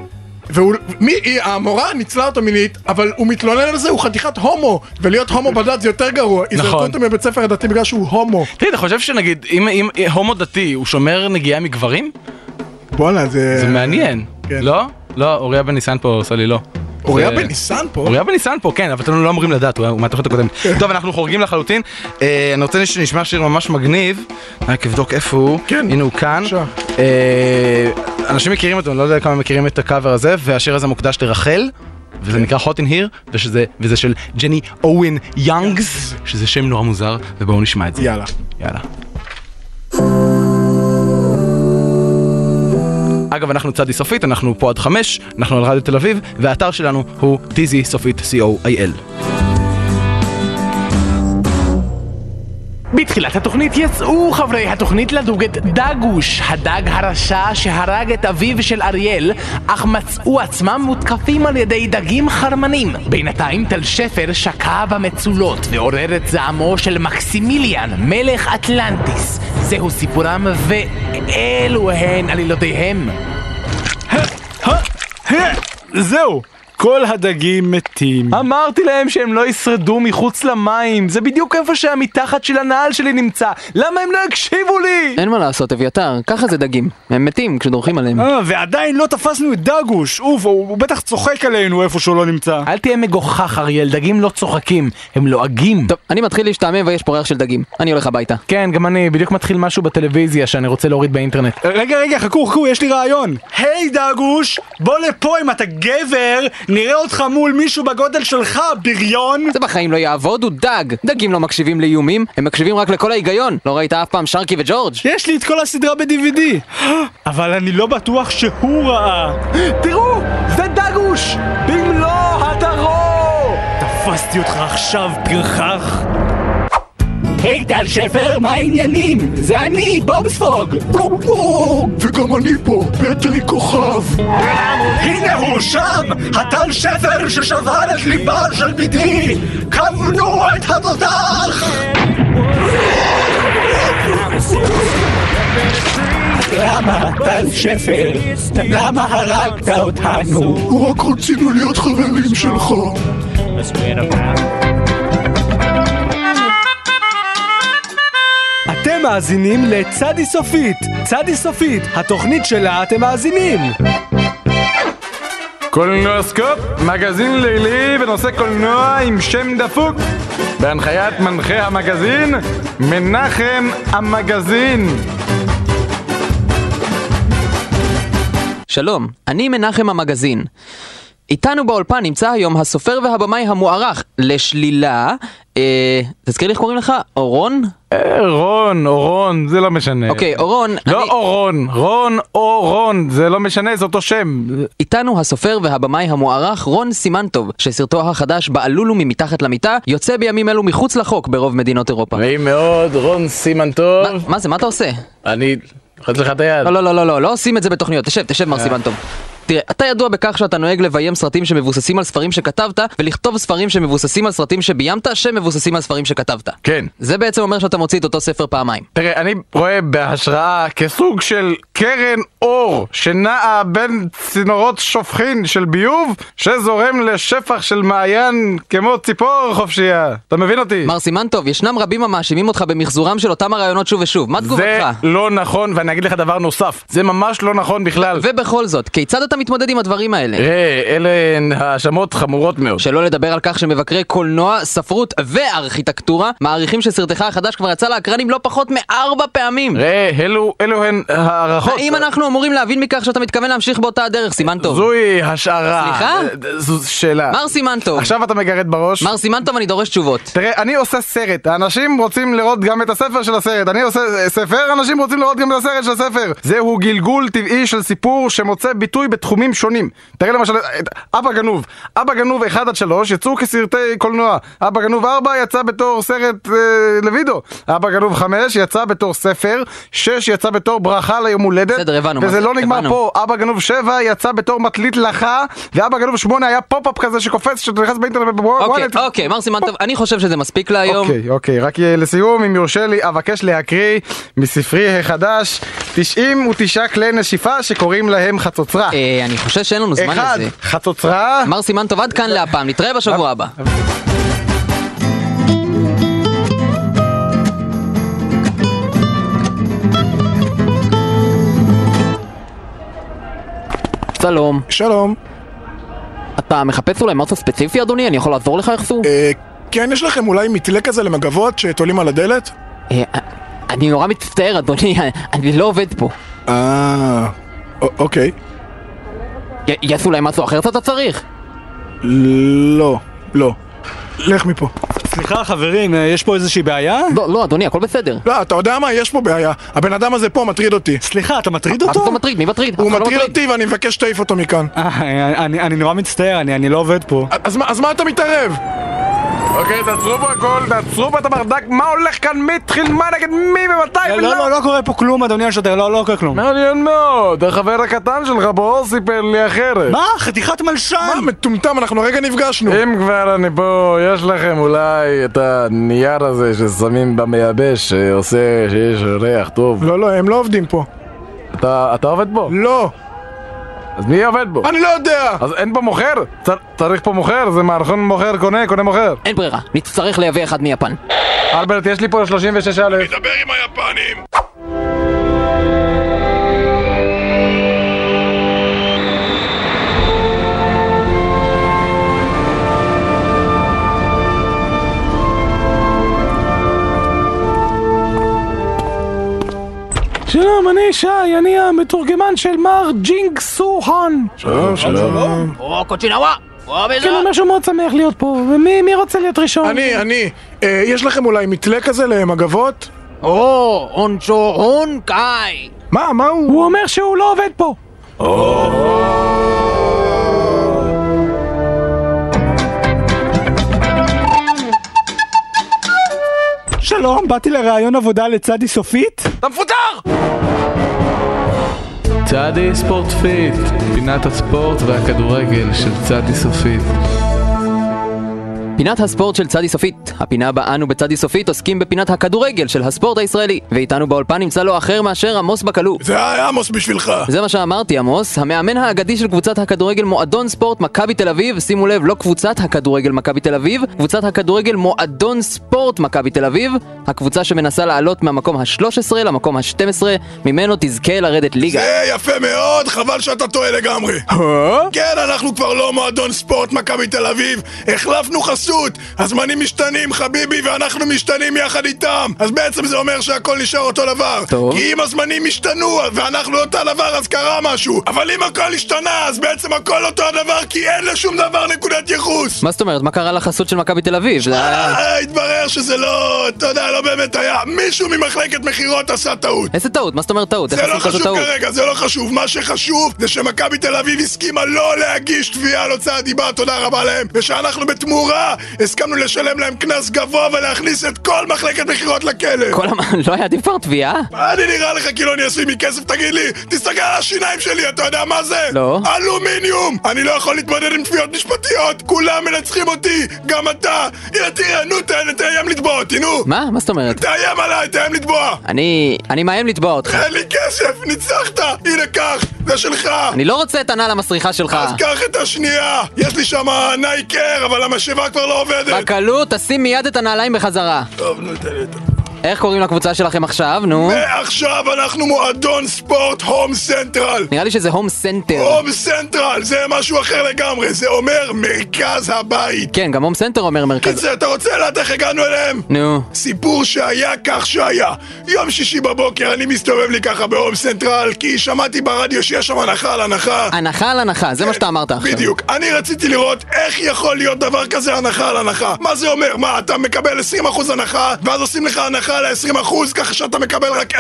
והוא, מי, היא- המורה ניצלה אותו מינית, אבל הוא מתלונן על זה, הוא חתיכת הומו, ולהיות הומו בדת זה יותר גרוע. יזרקו
נכון.
אותו מבית ספר הדתי בגלל שהוא הומו.
תגיד, אתה חושב שנגיד, אם- אם אם הומו דתי, הוא שומר נגיעה מגברים?
בואנה, זה...
זה מעניין.
כן.
לא? לא, אוריה בן ניסן פה עושה לי לא.
אוריה
זה-
בן ניסן פה. כן.
אוריה בן ניסן פה, כן, אבל אתם לא אמורים לדעת, הוא היה- הוא מהתוכנית הקודמת. טוב, אנחנו חורגים לחלוטין. אה, אני רוצה שנשמע שיר ממש מגניב. רק אבדוק איפה הוא.
כן.
הנה הוא כאן.
בבקשה.
אה, אנשים מכירים אותו, אני לא יודע כמה מכירים את הקאבר הזה, והשיר הזה מוקדש לרחל.
כן.
וזה נקרא hot in here, ושזה- וזה של ג'ני אוין יאנגס,
כן.
שזה שם נורא מוזר, ובואו נשמע את זה.
יאללה.
יאללה. אגב, אנחנו צדי סופית, אנחנו פה עד חמש, אנחנו על רדיו תל אביב, והאתר שלנו הוא tizzy סופית co.il.
בתחילת התוכנית יצאו חברי התוכנית לדוג את דגוש, הדג הרשע שהרג את אביו של אריאל, אך מצאו עצמם מותקפים על ידי דגים חרמנים. בינתיים תל שפר שקע במצולות ועורר את זעמו של מקסימיליאן, מלך אטלנטיס. זהו סיפורם ואלו הן עלילותיהם.
זהו, כל הדגים מתים.
אמרתי להם שהם לא ישרדו מחוץ למים, זה בדיוק איפה שהמתחת של הנעל שלי נמצא, למה הם לא הקשיבו לי?
אין מה לעשות, אביתר, ככה זה דגים. הם מתים כשדורכים עליהם.
אה, ועדיין לא תפסנו את דגוש, אוף, הוא הוא בטח צוחק עלינו איפה שהוא לא נמצא.
אל תהיה מגוחך אריאל, דגים לא צוחקים, הם לועגים.
טוב, אני מתחיל להשתעמם ויש פה ריח של דגים. אני הולך הביתה.
כן, גם אני, בדיוק מתחיל משהו בטלוויזיה שאני רוצה להוריד באינטרנט.
רגע, רגע, חכו, חכו, יש לי רעיון. היי דגוש, בוא לפה אם אתה גבר, נראה אותך מול מישהו בגודל שלך, בריון.
זה בחיים לא יעבוד, הוא דג! דגים לא מקשיבים לאיומים, הם מקשיבים רק לכל ההיגיון. לא ראית אף פעם שרקי וג'ורג'?
יש לי את כל הסדרה ב-DVD. אבל אני לא בטוח שהוא ראה.
תראו, זה דגוש! במלוא הטרור!
תפסתי אותך עכשיו, פרחח.
היי טל שפר, מה העניינים? זה אני, בובספוג!
גם פה, וגם אני פה, פטרי כוכב.
הנה הוא שם! הטל שפר ששבר את ליבה של בתי! כוונו את התותח! למה, טל שפר? למה הרגת אותנו?
רק רצינו להיות חברים שלך.
אתם מאזינים לצדי סופית. צדי סופית, התוכנית שלה אתם מאזינים.
קולנועסקופ, מגזין לילי בנושא קולנוע עם שם דפוק בהנחיית מנחה המגזין, מנחם המגזין
שלום, אני מנחם המגזין. איתנו באולפן נמצא היום הסופר והבמאי המוערך לשלילה, אה, תזכיר לי איך קוראים לך? אורון?
אה, רון, או רון, זה לא משנה.
אוקיי, אורון,
לא
אני-
אורון, רון או רון, זה לא משנה, זה אותו שם.
איתנו הסופר והבמאי המוערך רון סימנטוב, שסרטו החדש בעלולו ממתחת למיטה, יוצא בימים אלו מחוץ לחוק ברוב מדינות אירופה.
נעים מאוד, רון סימן
מה-
טוב.
מה זה, מה אתה עושה?
אני... אחת לך את היד.
לא, לא, לא, לא, לא, לא עושים את זה בתוכניות. תשב, תשב, מר סיבנטוב. תראה, אתה ידוע בכך שאתה נוהג לביים סרטים שמבוססים על ספרים שכתבת, ולכתוב ספרים שמבוססים על סרטים שביימת, שמבוססים על ספרים שכתבת.
כן.
זה בעצם אומר שאתה מוציא את אותו ספר פעמיים.
תראה, אני רואה בהשראה כסוג של קרן אור שנעה בין צינורות שופכין של ביוב שזורם לשפך של מעיין כמו ציפור חופשייה. אתה מבין אותי?
מר סימנטוב, ישנם רבים המאשימים אותך במחזורם של אותם הרעיונות שוב ושוב. מה
זה
תגובתך?
לא נכון, ואני אגיד לך דבר נוסף, זה ממש לא נכון בכלל.
ובכל זאת, כיצד אתה מתמודד עם הדברים האלה?
ראה, אלה הן האשמות חמורות מאוד.
שלא לדבר על כך שמבקרי קולנוע, ספרות וארכיטקטורה מעריכים שסרטך החדש כבר יצא לאקרנים לא פחות מארבע פעמים.
ראה, אלו, אלו הן הערכות.
האם אנחנו אמורים להבין מכך שאתה מתכוון להמשיך באותה הדרך, סימן טוב?
זוהי השערה.
סליחה?
אה, זו שאלה.
מר סימן טוב,
עכשיו אתה מגרד בראש.
מר סימן טוב, אני דורש תשובות.
תראה, אני עושה סרט, האנשים רוצים לראות גם את הספר של הסרט. אני עושה אה, ספר, אנשים רוצים לראות גם את הסרט של הספר. זהו גלגול טבעי של סיפור שמוצא ביטוי בתחומים שונים. תראה למשל את אבא גנוב. אבא גנוב 1 עד 3 יצאו כסרטי קולנוע. אבא גנוב 4 יצא בתור סרט אה, לוידאו. אבא גנוב 5 יצא בתור ספר. 6 יצא בתור ברכה ליום הולדת.
בסדר, הבנו,
וזה
מה-
לא נגמר
הבנו.
פה. אבא גנוב 7 יצא בתור מטלית לחה, ואבא גנוב 8 היה פופ-אפ כזה שקופץ כשאתה נכנס באינטרנט
אוקיי,
ובוואלט.
אוקיי, מר סימן טוב, אני חושב שזה מספיק להיום.
אוקיי, אוקיי, רק אה, לסיום, אם יורשה לי, אבקש להקריא מספרי החדש 99 כלי נשיפה שקוראים להם חצוצרה.
אה, אני חושב שאין לנו זמן
אחד,
לזה.
חצוצרה.
מר סימן טוב, עד כאן להפעם, נתראה בשבוע הבא. שלום,
שלום.
אתה מחפש אולי משהו ספציפי אדוני? אני יכול לעזור לך איכשהו?
אה, כן, יש לכם אולי מתלה כזה למגבות שתולים על הדלת?
אה, אני נורא מצטער אדוני, אני לא עובד פה.
אה... א- אוקיי.
י- יש אולי משהו אחר שאתה צריך?
לא. לא. לך מפה.
סליחה חברים, אה, יש פה איזושהי בעיה?
לא, לא אדוני, הכל בסדר.
לא, אתה יודע מה? יש פה בעיה. הבן אדם הזה פה מטריד אותי.
סליחה, אתה מטריד
אף אחד
אותו?
לא מטריד, מי מטריד? אף
הוא
אחד לא
מטריד אותי ואני מבקש שתעיף אותו מכאן.
אה, אני- אני נורא מצטער, אני אני לא עובד פה.
אז מה- אז מה אתה מתערב?
אוקיי, תעצרו פה הכל, תעצרו פה את הברדק, מה הולך כאן, מי התחיל, מה נגד מי ומתי
אה,
ולא.
לא, לא, לא קורה פה כלום, אדוני השוטר, לא, לא קורה כלום.
מעניין מאוד, החבר הקטן שלך פה סיפר לי אחרת.
מה? חתיכת מלשן!
מה, מטומטם, אנחנו הרגע נפגשנו.
אה?
אם כבר אני פה, יש לכם אולי את הנייר הזה ששמים במייבש, שעושה שיש ריח טוב.
לא, לא, הם לא עובדים פה.
אתה אתה עובד בו?
לא.
אז מי עובד בו?
אני לא יודע!
אז אין פה מוכר? צר- צריך פה מוכר, זה מערכון מוכר, קונה, קונה מוכר.
אין ברירה, נצטרך לייבא אחד מיפן.
אלברט, יש לי פה 36 א'.
דבר עם היפנים!
שלום, אני שי, אני המתורגמן של מר ג'ינג סו-האן.
שלום, שלום.
או קוצ'ינאווה! או
כן, אני משהו מאוד שמח להיות פה, ומי מי רוצה להיות ראשון?
אני, אני, אה, יש לכם אולי מתלה כזה למגבות?
או, אונצ'ו הון קאי!
מה, מה הוא?
הוא אומר שהוא לא עובד פה.
שי,
שלום, באתי לראיון עבודה לצדי סופית?
אתה מפוטר!
צעדי ספורט פיט, פינת הספורט והכדורגל של צעדי סופית.
פינת הספורט של צדי סופית. הפינה בה אנו בצדי סופית עוסקים בפינת הכדורגל של הספורט הישראלי. ואיתנו באולפן נמצא לא אחר מאשר עמוס בקלו.
זה היה עמוס בשבילך.
זה מה שאמרתי, עמוס, המאמן האגדי של קבוצת הכדורגל מועדון ספורט מכבי תל אביב, שימו לב, לא קבוצת הכדורגל מכבי תל אביב, קבוצת הכדורגל מועדון ספורט מכבי תל אביב, הקבוצה שמנסה לעלות מהמקום ה-13 למקום ה-12, ממנו תזכה לרדת ליגה.
זה אה, יפה מאוד, חבל שאתה טועה לגמרי.
אה?
כן, אנחנו כבר לא מועדון ספורט מכבי תל אביב, החלפנו חסות, הזמנים משתנים, חביבי, ואנחנו משתנים יחד איתם. אז בעצם זה אומר שהכל נשאר אותו דבר.
טוב.
כי אם הזמנים השתנו ואנחנו אותו דבר, אז קרה משהו. אבל אם הכל השתנה, אז בעצם הכל אותו הדבר, כי אין לשום דבר נקודת ייחוס.
מה זאת אומרת, מה קרה לחסות של מכבי תל אביב? זה היה-
אה, התברר שזה לא, אתה יודע, לא באמת היה. מישהו ממחלקת מכירות עשה טעות.
איזה טעות? מה זאת אומרת טעות? איך
זה לא
עשו כזו
חשוב
טעות?
כרגע, זה לא חשוב. מה שחשוב זה שמכבי תל אביב הסכימה לא להגיש תביעה על הוצאת דיבה, תודה רבה להם. ושאנחנו בתמורה הסכמנו לשלם להם קנס גבוה ולהכניס את כל מחלקת מכירות לכלא.
כל המ... לא היה עדיף כבר תביעה?
אני נראה לך כאילו אני עשוי מכסף, תגיד לי, תסתכל על השיניים שלי, אתה יודע מה זה?
לא.
אלומיניום! אני לא יכול להתמודד עם תביעות משפטיות, כולם מנצחים אותי, גם אתה! הנה תראה, נו, ת- תאיים לתבוע אותי, נו!
מה? מה זאת אומרת?
תאיים עליי, תאיים לתבוע!
אני... אני מאיים לתבוע אותך.
אין לי כסף, ניצחת! הנה, קח, זה שלך!
אני לא רוצה את הנעל המסריחה שלך.
אז קח את השנייה! יש לי שם נייקר, אבל המשאבה כבר לא עובדת!
בקלות, תשים מיד את הנעליים בחזרה.
טוב, נו, תן לי את
איך קוראים לקבוצה שלכם עכשיו, נו?
ועכשיו אה, אנחנו מועדון ספורט הום סנטרל!
נראה לי שזה הום סנטר.
הום סנטרל, זה משהו אחר לגמרי, זה אומר מרכז הבית.
כן, גם הום סנטר אומר מרכז...
קיצר, אתה רוצה לדעת איך הגענו אליהם?
נו.
סיפור שהיה כך שהיה. יום שישי בבוקר אני מסתובב לי ככה בהום סנטרל, כי שמעתי ברדיו שיש שם הנחה על הנחה.
הנחה על הנחה, זה מה שאתה אמרת עכשיו.
בדיוק. אני רציתי לראות איך יכול להיות דבר כזה הנחה על הנחה. מה זה אומר? מה, אתה מקבל 20% הנחה, ואז עושים לך הנחה ל-20% ככה שאתה מקבל רק 10%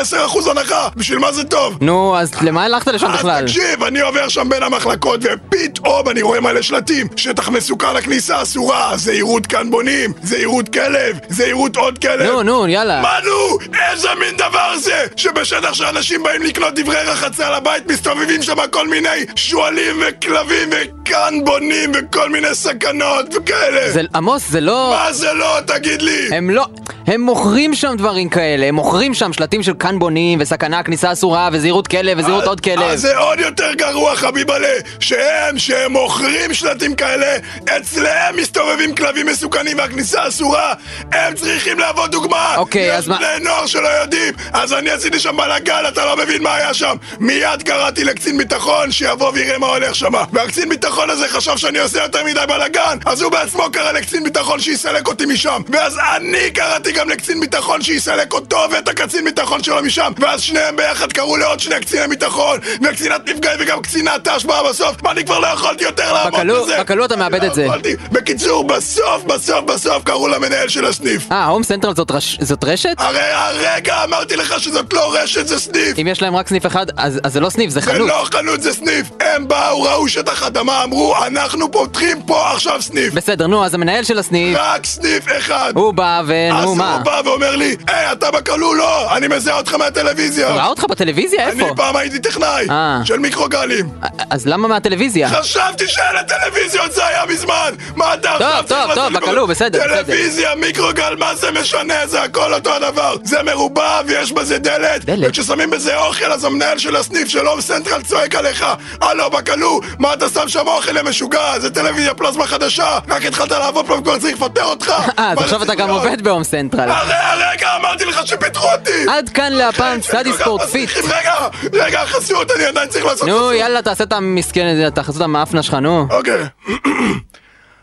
הנחה? בשביל מה זה טוב?
נו, אז למה הלכת לשם נכון, בכלל?
אז תקשיב, אני עובר שם בין המחלקות, ופתאום אני רואה מלא שלטים. שטח מסוכן לכניסה אסורה, זהירות כאן בונים, זהירות כלב, זהירות עוד כלב.
נו, נו, יאללה.
מה נו? איזה מין דבר זה? שבשטח שאנשים באים לקנות דברי רחצה לבית, מסתובבים שם כל מיני שועלים וכלבים וכאן בונים וכל מיני סכנות וכאלה.
זה... עמוס, זה לא...
מה זה לא? תגיד לי.
הם לא... הם מוכרים שם דברים כאלה, הם מוכרים שם שלטים של כאן בונים, וסכנה, כניסה אסורה, וזהירות כלב, וזהירות עוד כלב.
אז זה עוד יותר גרוע, חביבלה, שהם, שהם מוכרים שלטים כאלה, אצלם מסתובבים כלבים מסוכנים והכניסה אסורה, הם צריכים להוות דוגמה!
אוקיי, אז מה-
יש בני נוער שלא יודעים, אז אני עשיתי שם בלאגן, אתה לא מבין מה היה שם! מיד קראתי לקצין ביטחון שיבוא ויראה מה הולך שם, והקצין ביטחון הזה חשב שאני עושה יותר מדי בלאגן, אז הוא בעצמו קרא לקצין ביטחון שיסלק אותי משם, ואז אני קראתי גם לקצין ביטחון שיסלק אותו ואת הקצין ביטחון שלו משם, ואז שניהם ביחד קראו לעוד שני קציני ביטחון, וקצינת נפגעים וגם קצינת ת"ש באה בסוף, ואני כבר לא יכולתי יותר לעמוד
בקלות-
בזה!
בקלות אתה מאבד את זה.
לא יכולתי. בקיצור, בסוף, בסוף, בסוף קראו למנהל של הסניף.
אה, הום סנטרל זאת רש- זאת רשת?
הרי הרגע אמרתי לך שזאת לא רשת, זה סניף!
אם יש להם רק סניף אחד, אז אז זה לא סניף, זה
זה
חנות.
לא חנות, זה סניף! הם באו, ראו שטח אדמה, אמרו, אנחנו פותחים פה עכשיו סניף!
בסדר, נו, אז המנהל של הסניף,
רק סניף אחד!
הוא בא
אז
ונו,
הוא
אוקיי, מה?
בא ואומר לי, היי, אתה בכלול? לא, אני מזהה אותך מהטלוויזיה!
ראה אותך בטלוויזיה?
אני
לא, איפה?
פעם הייתי טכנאי!
אה.
של מיקרוגלים!
אז למה מהטלוויזיה?
חשבתי שאלה טלוויזיות, זה היה מזמן! מה אתה
טוב,
עכשיו צריך
טוב, טוב,
לעשות לי-
בכלול, בסדר, בסדר.
טלוויזיה, מיקרוגל, מה זה משנה? זה הכל אותו הדבר. זה מרובע ויש בזה דלת.
דלת?
וכששמים בזה אוכל, אז המנהל של הסניף של הום סנטרל צועק עליך, הלו, בכלול, מה אתה שם שם אוכל למשוגע? זה טלוויזיה פלזמה חדשה. רק התחלת לעבוד פה וכבר צריך לפטר אותך.
אה, אז
מה
עכשיו אתה גם
רציתי
עובד בהום סנטרל.
הרי הרגע אמרתי לך שפיטרו אותי!
עד כאן
כן,
להפעם צדי ספורט פיט.
רגע, רגע, חסות, אני עדיין צריך לעשות
נו,
חסות.
יאללה, תעשה את המסכן הזה, תעשה את המאפנה שלך, נו.
אוקיי.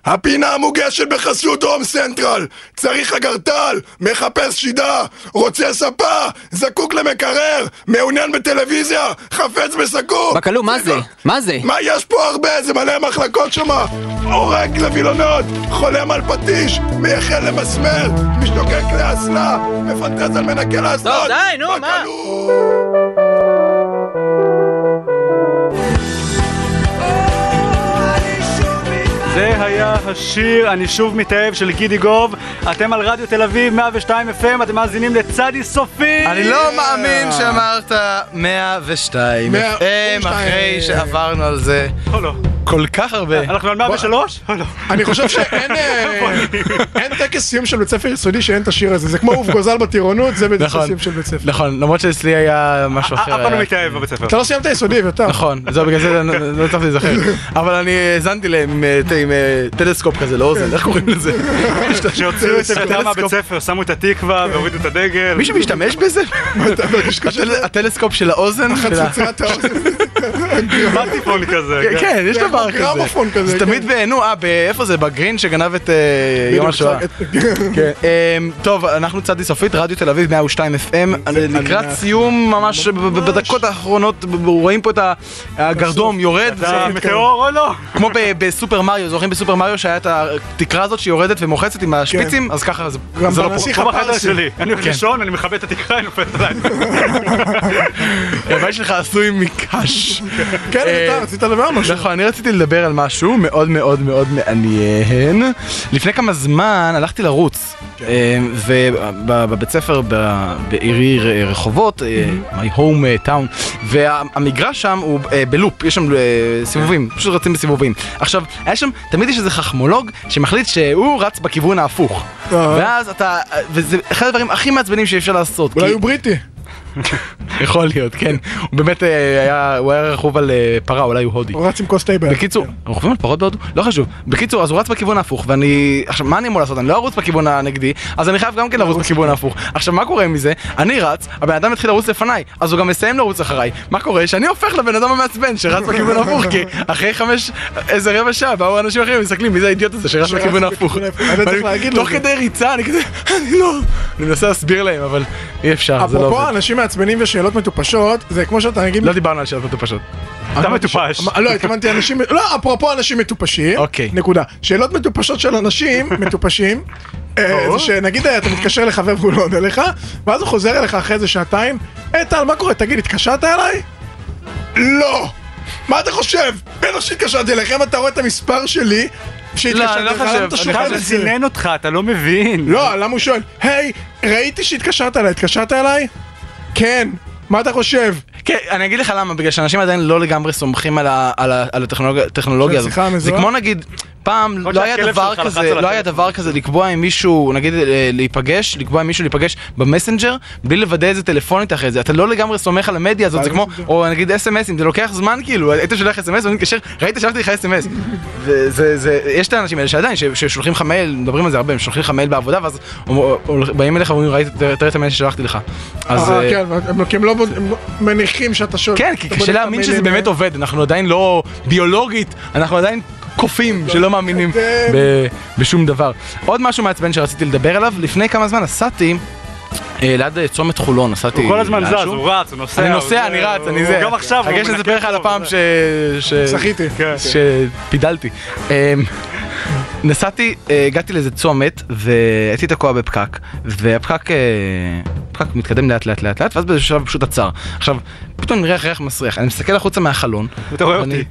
הפינה המוגשת בחסות הום סנטרל. צריך אגרטל, מחפש שידה, רוצה ספה, זקוק למקרר, מעוניין בטלוויזיה, חפץ בסכו"ם.
בקלו, מה זה? מה זה?
מה יש פה הרבה? זה מלא מחלקות שמה. הורג לווילונות, חולם על פטיש, מייחל למסמר, משתוקק לאסלה, מפנטז על מנקה לאסלות.
טוב, לא, די, נו, מה?
בקלו.
זה
היה השיר "אני שוב מתאהב" של גידי גוב. אתם על רדיו תל אביב 102 FM, אתם מאזינים לצדי סופי!
אני לא מאמין שאמרת 102
מאה-
FM אחרי שעברנו על זה כל כך הרבה.
אנחנו על לא, 103?
אני חושב שאין אה, אין טקס סיום של בית ספר יסודי שאין את השיר הזה, זה כמו אופגוזל בטירונות, זה בטקס
נכון.
סיום של בית ספר.
נכון, למרות שאצלי היה משהו אחר.
אף אחד לא
היה.
מתאהב בבית ספר. אתה לא סיימת יסודי, אביתר.
נכון, זהו, בגלל זה אני- לא הצלחתי להיזכר. אבל אני האזנתי להם עם, אה, ת- עם אה, טלסקופ כזה לאוזן, איך קוראים לזה?
שהוציאו את אביתר מהבית ספר, שמו את התקווה והורידו את הדגל.
מישהו משתמש בזה? הטל- הטלסקופ של האוזן? של ה-
גרמטיפון כזה.
כן, כן, יש דבר כזה.
גרמופון כזה,
זה
כן.
תמיד ב... נו, אה, ב- איפה זה? בגרין שגנב את אה, יום השואה. כן. אמ, טוב, אנחנו צדי סופית, רדיו תל אביב 102 FM. לקראת
אני-
סיום, ממש ב- ב- בדקות האחרונות, ב- ב- רואים פה את ה- הגרדום יורד.
אתה מטאור או לא?
כמו ב- בסופר מריו, זוכרים בסופר מריו שהיה את התקרה הזאת שיורדת ומוחצת
כן.
עם השפיצים? אז ככה זה
גם
זה לא פה.
בנסיך בחדר שלי. אני
כן.
הולך לישון, כן. אני מכבה את התקרה, היא נופלת עליי.
הבית שלך עשוי מקש.
כן,
אה,
אתה רצית לדבר על משהו.
נכון, אני רציתי לדבר על משהו מאוד מאוד מאוד מעניין. לפני כמה זמן הלכתי לרוץ,
כן.
אה, ובבית ספר ב- בעירי ר- רחובות, אה, my
Mm-hmm.
home town, והמגרש שם הוא אה, בלופ, יש שם אה, סיבובים,
כן.
פשוט רצים בסיבובים. עכשיו, היה שם, תמיד יש איזה חכמולוג שמחליט שהוא רץ בכיוון ההפוך.
אה.
ואז אתה, וזה אחד הדברים הכי מעצבנים שאפשר לעשות.
אולי
כי-
הוא בריטי.
יכול להיות, כן. הוא באמת אה, היה, הוא היה רכוב על אה, פרה, אולי הוא הודי.
הוא רץ עם כוס תה ביד.
בקיצור, רוכבים על פרות בהודו? לא חשוב. בקיצור, אז הוא רץ בכיוון ההפוך, ואני... עכשיו, מה אני אמור לעשות? אני לא ארוץ בכיוון הנגדי, אז אני חייב גם כן לרוץ בכיוון ההפוך. עכשיו, מה קורה מזה? אני רץ, הבן אדם התחיל לרוץ לפניי, אז הוא גם מסיים לרוץ אחריי. מה קורה? שאני הופך לבן אדם המעצבן שרץ בכיוון ההפוך, כי אחרי חמש, איזה רבע שעה, באו אנשים אחרים ומסתכלים, מי זה האידיוט הזה שרץ בכיוון ההפוך?
אתה צריך
ואני-
להגיד לו
תוך
את זה.
כדי ריצה, אני כזה, אני לא... אני מנסה להסביר להם, אבל אי אפשר, זה לא
אפרופו
עובד.
אנשים מעצבנים ושאלות מטופשות, זה כמו שאתה נגיד...
לא דיברנו על שאלות מטופשות. אתה
אמרתי ש-
מטופש.
אמ- לא, התכוונתי אנשים... לא, אפרופו אנשים מטופשים.
אוקיי.
נקודה. שאלות מטופשות של אנשים מטופשים. אה, זה שנגיד אה, אתה מתקשר לחבר והוא לא עונה לך, ואז הוא חוזר אליך אחרי איזה שעתיים, היי טל, מה קורה? תגיד, התקשרת אליי?
לא!
מה אתה חושב? בטח שהתקשרתי אליכם, אתה רואה את המספר שלי? שהתקשרתי
לא, אני לא
אליך, למה אתה
חושב.
שואל
אני
את
חושב
זה?
סינן אותך, אתה לא מבין.
לא, למה הוא שואל? היי, ראיתי שהתקשרת אליי, התקשרת אליי? כן. מה אתה חושב?
כן, אני אגיד לך למה, בגלל שאנשים עדיין לא לגמרי סומכים על ה- על ה- על הטכנולוגיה- הטכנולוגיה
של
הזאת.
השיחה
זה
המזוהה?
כמו נגיד, פעם
יכול
לא
להיות
היה
שהכלב
דבר
שלך לחץ
כזה,
על
לא היה דבר כזה לקבוע עם מישהו, נגיד אה, להיפגש, לקבוע עם מישהו להיפגש במסנג'ר, בלי לוודא את זה טלפונית אחרי זה. אתה לא לגמרי סומך על המדיה הזאת, זה כמו, או נגיד אס.אם.אסים, זה לוקח זמן כאילו, היית שולח אס.אם.אס ואני מתקשר, ראית שלחתי לך אס.אם.אס. וזה, זה, יש את האנשים האלה שעדיין, ש- ששולחים לך מייל, מדברים על זה הרבה, הם שולחים לך מייל בעבודה, ואז אומר- באים אליך ואומרים, ראית, תראה את המייל ששלחתי לך. אז...
אה,
אה,
כן, הם לא- כי הם לא בוד- הם לא מניחים שאתה שואל.
כן, כי קשה להאמין
לא-
שזה באמת עובד, אנחנו עדיין לא ביולוגית, אנחנו עדיין
לא
קופים שלא מאמינים ב- בשום דבר. עוד משהו מעצבן שרציתי לדבר עליו, לפני כמה זמן נסעתי... אה, ליד אה, צומת חולון, נסעתי...
הוא כל הזמן זז,
לאנשהו.
הוא רץ, הוא נוסע.
אני
הוא
נוסע,
זה,
אני רץ,
הוא-
אני זה.
גם עכשיו הוא
אני אגש
מנקה
לספר לך על הפעם ש... ש-
זכיתי. כן.
שפידלתי. אמ, נסעתי, אה, הגעתי לאיזה צומת, והייתי תקוע בפקק, והפקק אה, הפקק מתקדם לאט לאט לאט לאט, ואז באיזשהו שלב הוא פשוט עצר. עכשיו, פתאום אני ריח ריח מסריח, אני מסתכל החוצה מהחלון.
אתה רואה
ואני-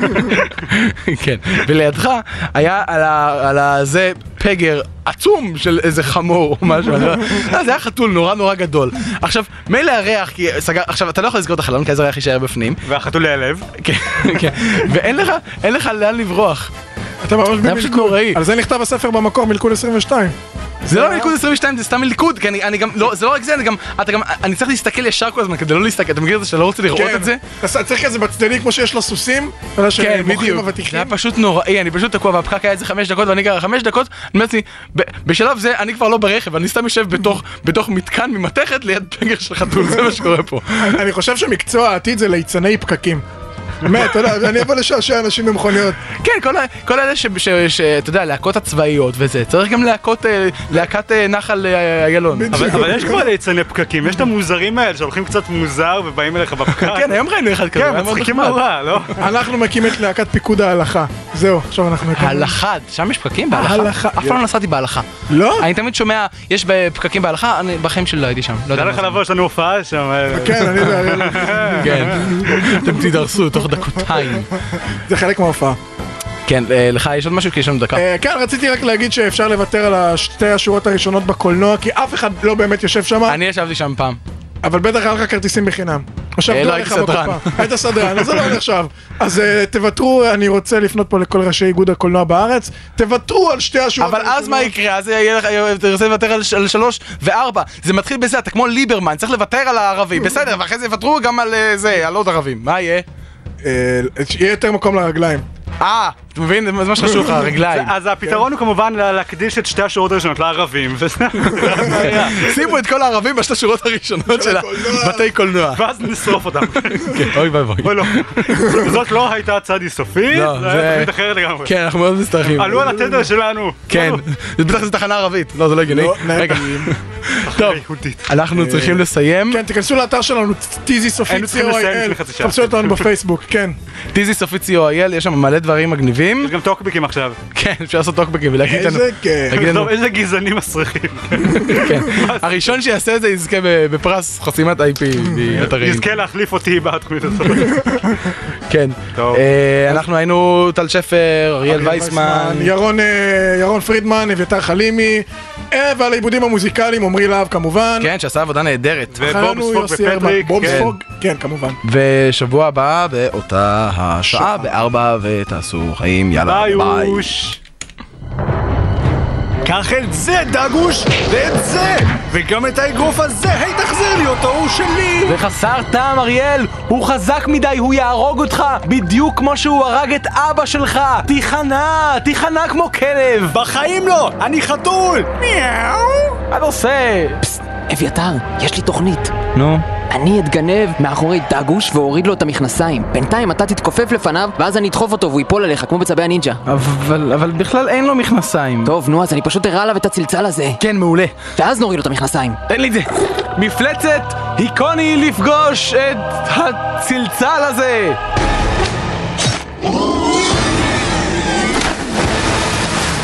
כן, ולידך היה על ה- על ה- זה פגר עצום של איזה חמור או משהו, אני לא- לא, זה היה חתול נורא נורא גדול. עכשיו, מילא הריח, כי סגר, עכשיו אתה לא יכול לסגור את החלון, כי אז הריח יישאר בפנים.
והחתול יעלב.
כן, כן, ואין לך, אין לך לאן לברוח.
אתה ממש
זה היה פשוט
במלכוד.
נוראי.
על זה נכתב הספר במקור, מלכוד 22.
זה לא מלכוד 22, זה סתם מלכוד, כי אני, אני גם, לא, זה לא רק זה, אני גם, אתה גם, אני צריך להסתכל ישר כל הזמן כדי לא להסתכל, אתה מכיר את זה שאתה לא רוצה לראות
כן.
את זה?
אתה צריך כזה בצדדי כמו שיש לו סוסים, אתה
כן,
יודע שמוכרים
בדיוק.
הוותיקים.
זה היה פשוט נוראי, אני פשוט תקוע והפקק היה איזה חמש דקות ואני גר חמש דקות, אני אומר לעצמי, ב- בשלב זה אני כבר לא ברכב, אני סתם יושב בתוך, בתוך מתקן ממתכת ליד פגר של חתול, זה מה שקורה פה.
אני חושב שמקצוע העתיד זה ליצני פקקים. באמת, אתה יודע, אני אבוא לשעשע אנשים במכוניות.
כן, כל, ה- כל אלה ש- ש- ש- אתה יודע, להקות הצבאיות וזה, צריך גם להקות, אה, להקת אה, נחל אה, איילון.
אבל אבל יש כבר ליצני פקקים, יש את המוזרים האלה שהולכים קצת מוזר ובאים אליך בפקק.
כן, היום ראינו אחד כזה, היה
כן,
מאוד
מצחיקים
נחמד.
נורא, לא?
אנחנו מקים את להקת פיקוד ההלכה. זהו, עכשיו אנחנו מקימים.
הלכה, שם יש פקקים בהלכה?
הלכה.
אף פעם לא נסעתי בהלכה.
לא?
אני תמיד שומע, יש פקקים בהלכה, אני בחיים שלי לא הייתי שם. לא יודע
תדע
מה
לך
זה.
לבוא, יש לנו הופעה שם.
אה,
כן, אני
כן, אתם תידרסו כן. תוך דקותיים.
זה חלק מההופעה.
כן, אה, לך יש עוד משהו? כי יש לנו דקה.
אה, כן, רציתי רק להגיד שאפשר לוותר על השתי השורות הראשונות בקולנוע, כי אף אחד לא באמת יושב שם,
אני ישבתי שם פעם.
אבל בטח היה לך כרטיסים בחינם. או
אה,
שעבדו
לא,
עליך
הייתי סדרן.
בקופה. היית סדרן, אז זה לא נחשב. אז אה, תוותרו, אני רוצה לפנות פה לכל ראשי איגוד הקולנוע בארץ, תוותרו על שתי השורות
אבל אז מה יקרה? אז יהיה לך, תרצה לוותר על ש- על שלוש וארבע. זה מתחיל בזה, אתה כמו ליברמן, צריך לוותר על הערבי. בסדר, ואחרי זה יוותרו גם על אה, זה, על עוד ערבים. מה יהיה?
אה, יהיה יותר מקום לרגליים.
אה, אתה מבין? זה מה שחשוב לך, הרגליים.
אז הפתרון הוא כמובן לה- להקדיש את שתי השורות הראשונות לערבים, וזה הבעיה.
שימו את כל הערבים בשתי השורות הראשונות של בתי קולנוע. כן,
ואז נשרוף אותם.
אוי ואבוי.
אוי לא. זאת לא הייתה צדי סופית,
לא,
זו
זה-
הייתה תוכנית אחרת לגמרי.
כן, אנחנו מאוד מצטערים.
עלו על התדר שלנו.
כן, זה בטח זו תחנה ערבית, לא זה לא הגיוני.
לא,
רגע, טוב, אנחנו צריכים לסיים.
כן, תיכנסו לאתר שלנו, ט- טיזי סופי
היינו צריכים לסיים לפני
co.il,
חצי שעה.
תחפשו אותנו בפייסבוק, כן.
טיזי סופי co.il, יש שם מלא דברים מגניבים. יש
גם טוקבקים עכשיו.
כן, אפשר לעשות טוקבקים ולהגיד לנו.
איזה כיף.
להגיד לנו-
טוב, איזה גזענים מסריחים.
כן. הראשון שיעשה את זה יזכה ב- בפרס חסימת IP באתרים.
יזכה להחליף אותי בתוכנית הזאת.
כן. אה, אנחנו היינו טל שפר, אריאל וייסמן.
כן, ירון, אה, ירון פרידמן, אביתר חלימי, אה, ועל העיבודים המוזיקליים, עמרי להב כמובן.
כן, שעשה עבודה נהדרת.
אחרינו יוסי הרמן, בוב ספוג, כן, כמובן.
ושבוע הבא באותה השעה, בארבע, ותעשו חיים, יאללה,
ביי,
ביי.
אוש.
קח את זה, דגוש, ואת זה, וגם את האגרוף הזה, היי, תחזיר לי אותו, הוא שלי!
זה חסר טעם, אריאל! הוא חזק מדי, הוא יהרוג אותך! בדיוק כמו שהוא הרג את אבא שלך! תיכנע! תיכנע כמו כלב!
בחיים לא! אני חתול! מיאו!
הנושא!
פסט, אביתר, יש לי תוכנית.
נו.
אני אתגנב מאחורי דגוש ואוריד לו את המכנסיים. בינתיים אתה תתכופף לפניו, ואז אני אדחוף אותו והוא ייפול עליך, כמו בצבי הנינג'ה.
אבל, אבל בכלל אין לו מכנסיים.
טוב, נו, אז אני פשוט אראה עליו את הצלצל הזה.
כן, מעולה.
ואז נוריד לו את המכנסיים.
תן לי את זה! מפלצת! היכוני לפגוש את הצלצל הזה!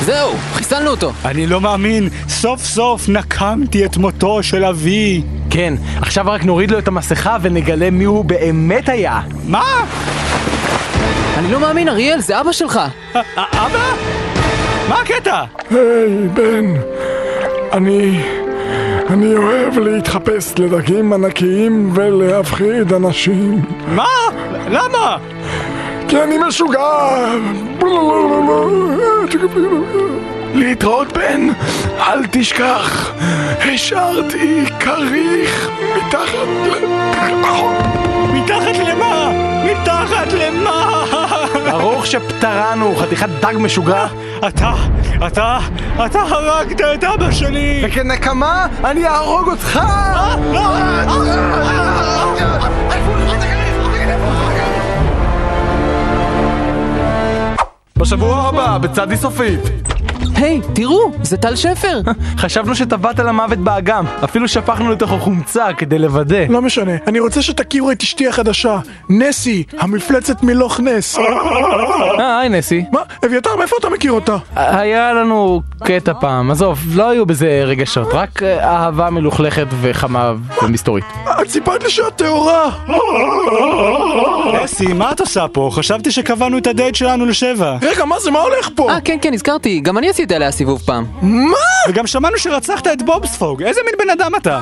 זהו, חיסלנו אותו.
אני לא מאמין, סוף סוף נקמתי את מותו של אבי.
כן, עכשיו רק נוריד לו את המסכה ונגלה מי הוא באמת היה.
מה?
אני לא מאמין, אריאל, זה אבא שלך.
אה, אבא? מה הקטע?
היי, בן, אני... אני אוהב להתחפש לדגים ענקיים ולהפחיד אנשים.
מה? למה?
כי אני משוגע!
להתראות בן, אל תשכח, השארתי כריך מתחת ל...
מתחת למה? מתחת למה?
ברוך שפטרנו, חתיכת דג משוגע.
אתה, אתה, אתה הרגת את אבא שלי!
וכנקמה, אני אהרוג אותך!
בשבוע הבא, בצדי סופית.
היי, תראו, זה טל שפר!
חשבנו שטבעת למוות באגם, אפילו שפכנו לתוכו חומצה כדי לוודא.
לא משנה, אני רוצה שתכירו את אשתי החדשה, נסי, המפלצת מלוך נס.
אה, היי נסי.
מה? אביתר, מאיפה אתה מכיר אותה?
היה לנו קטע פעם, עזוב, לא היו בזה רגשות, רק אה, אהבה מלוכלכת וחמה ומסתורית.
את סיפרת לי שאת טהורה!
אסי, מה את עושה פה? חשבתי שקבענו את הדייט שלנו לשבע.
רגע, מה זה? מה הולך פה?
אה, כן, כן, הזכרתי, גם אני עשיתי עליה סיבוב פעם.
מה? וגם שמענו שרצחת את בובספוג, איזה מין בן אדם אתה?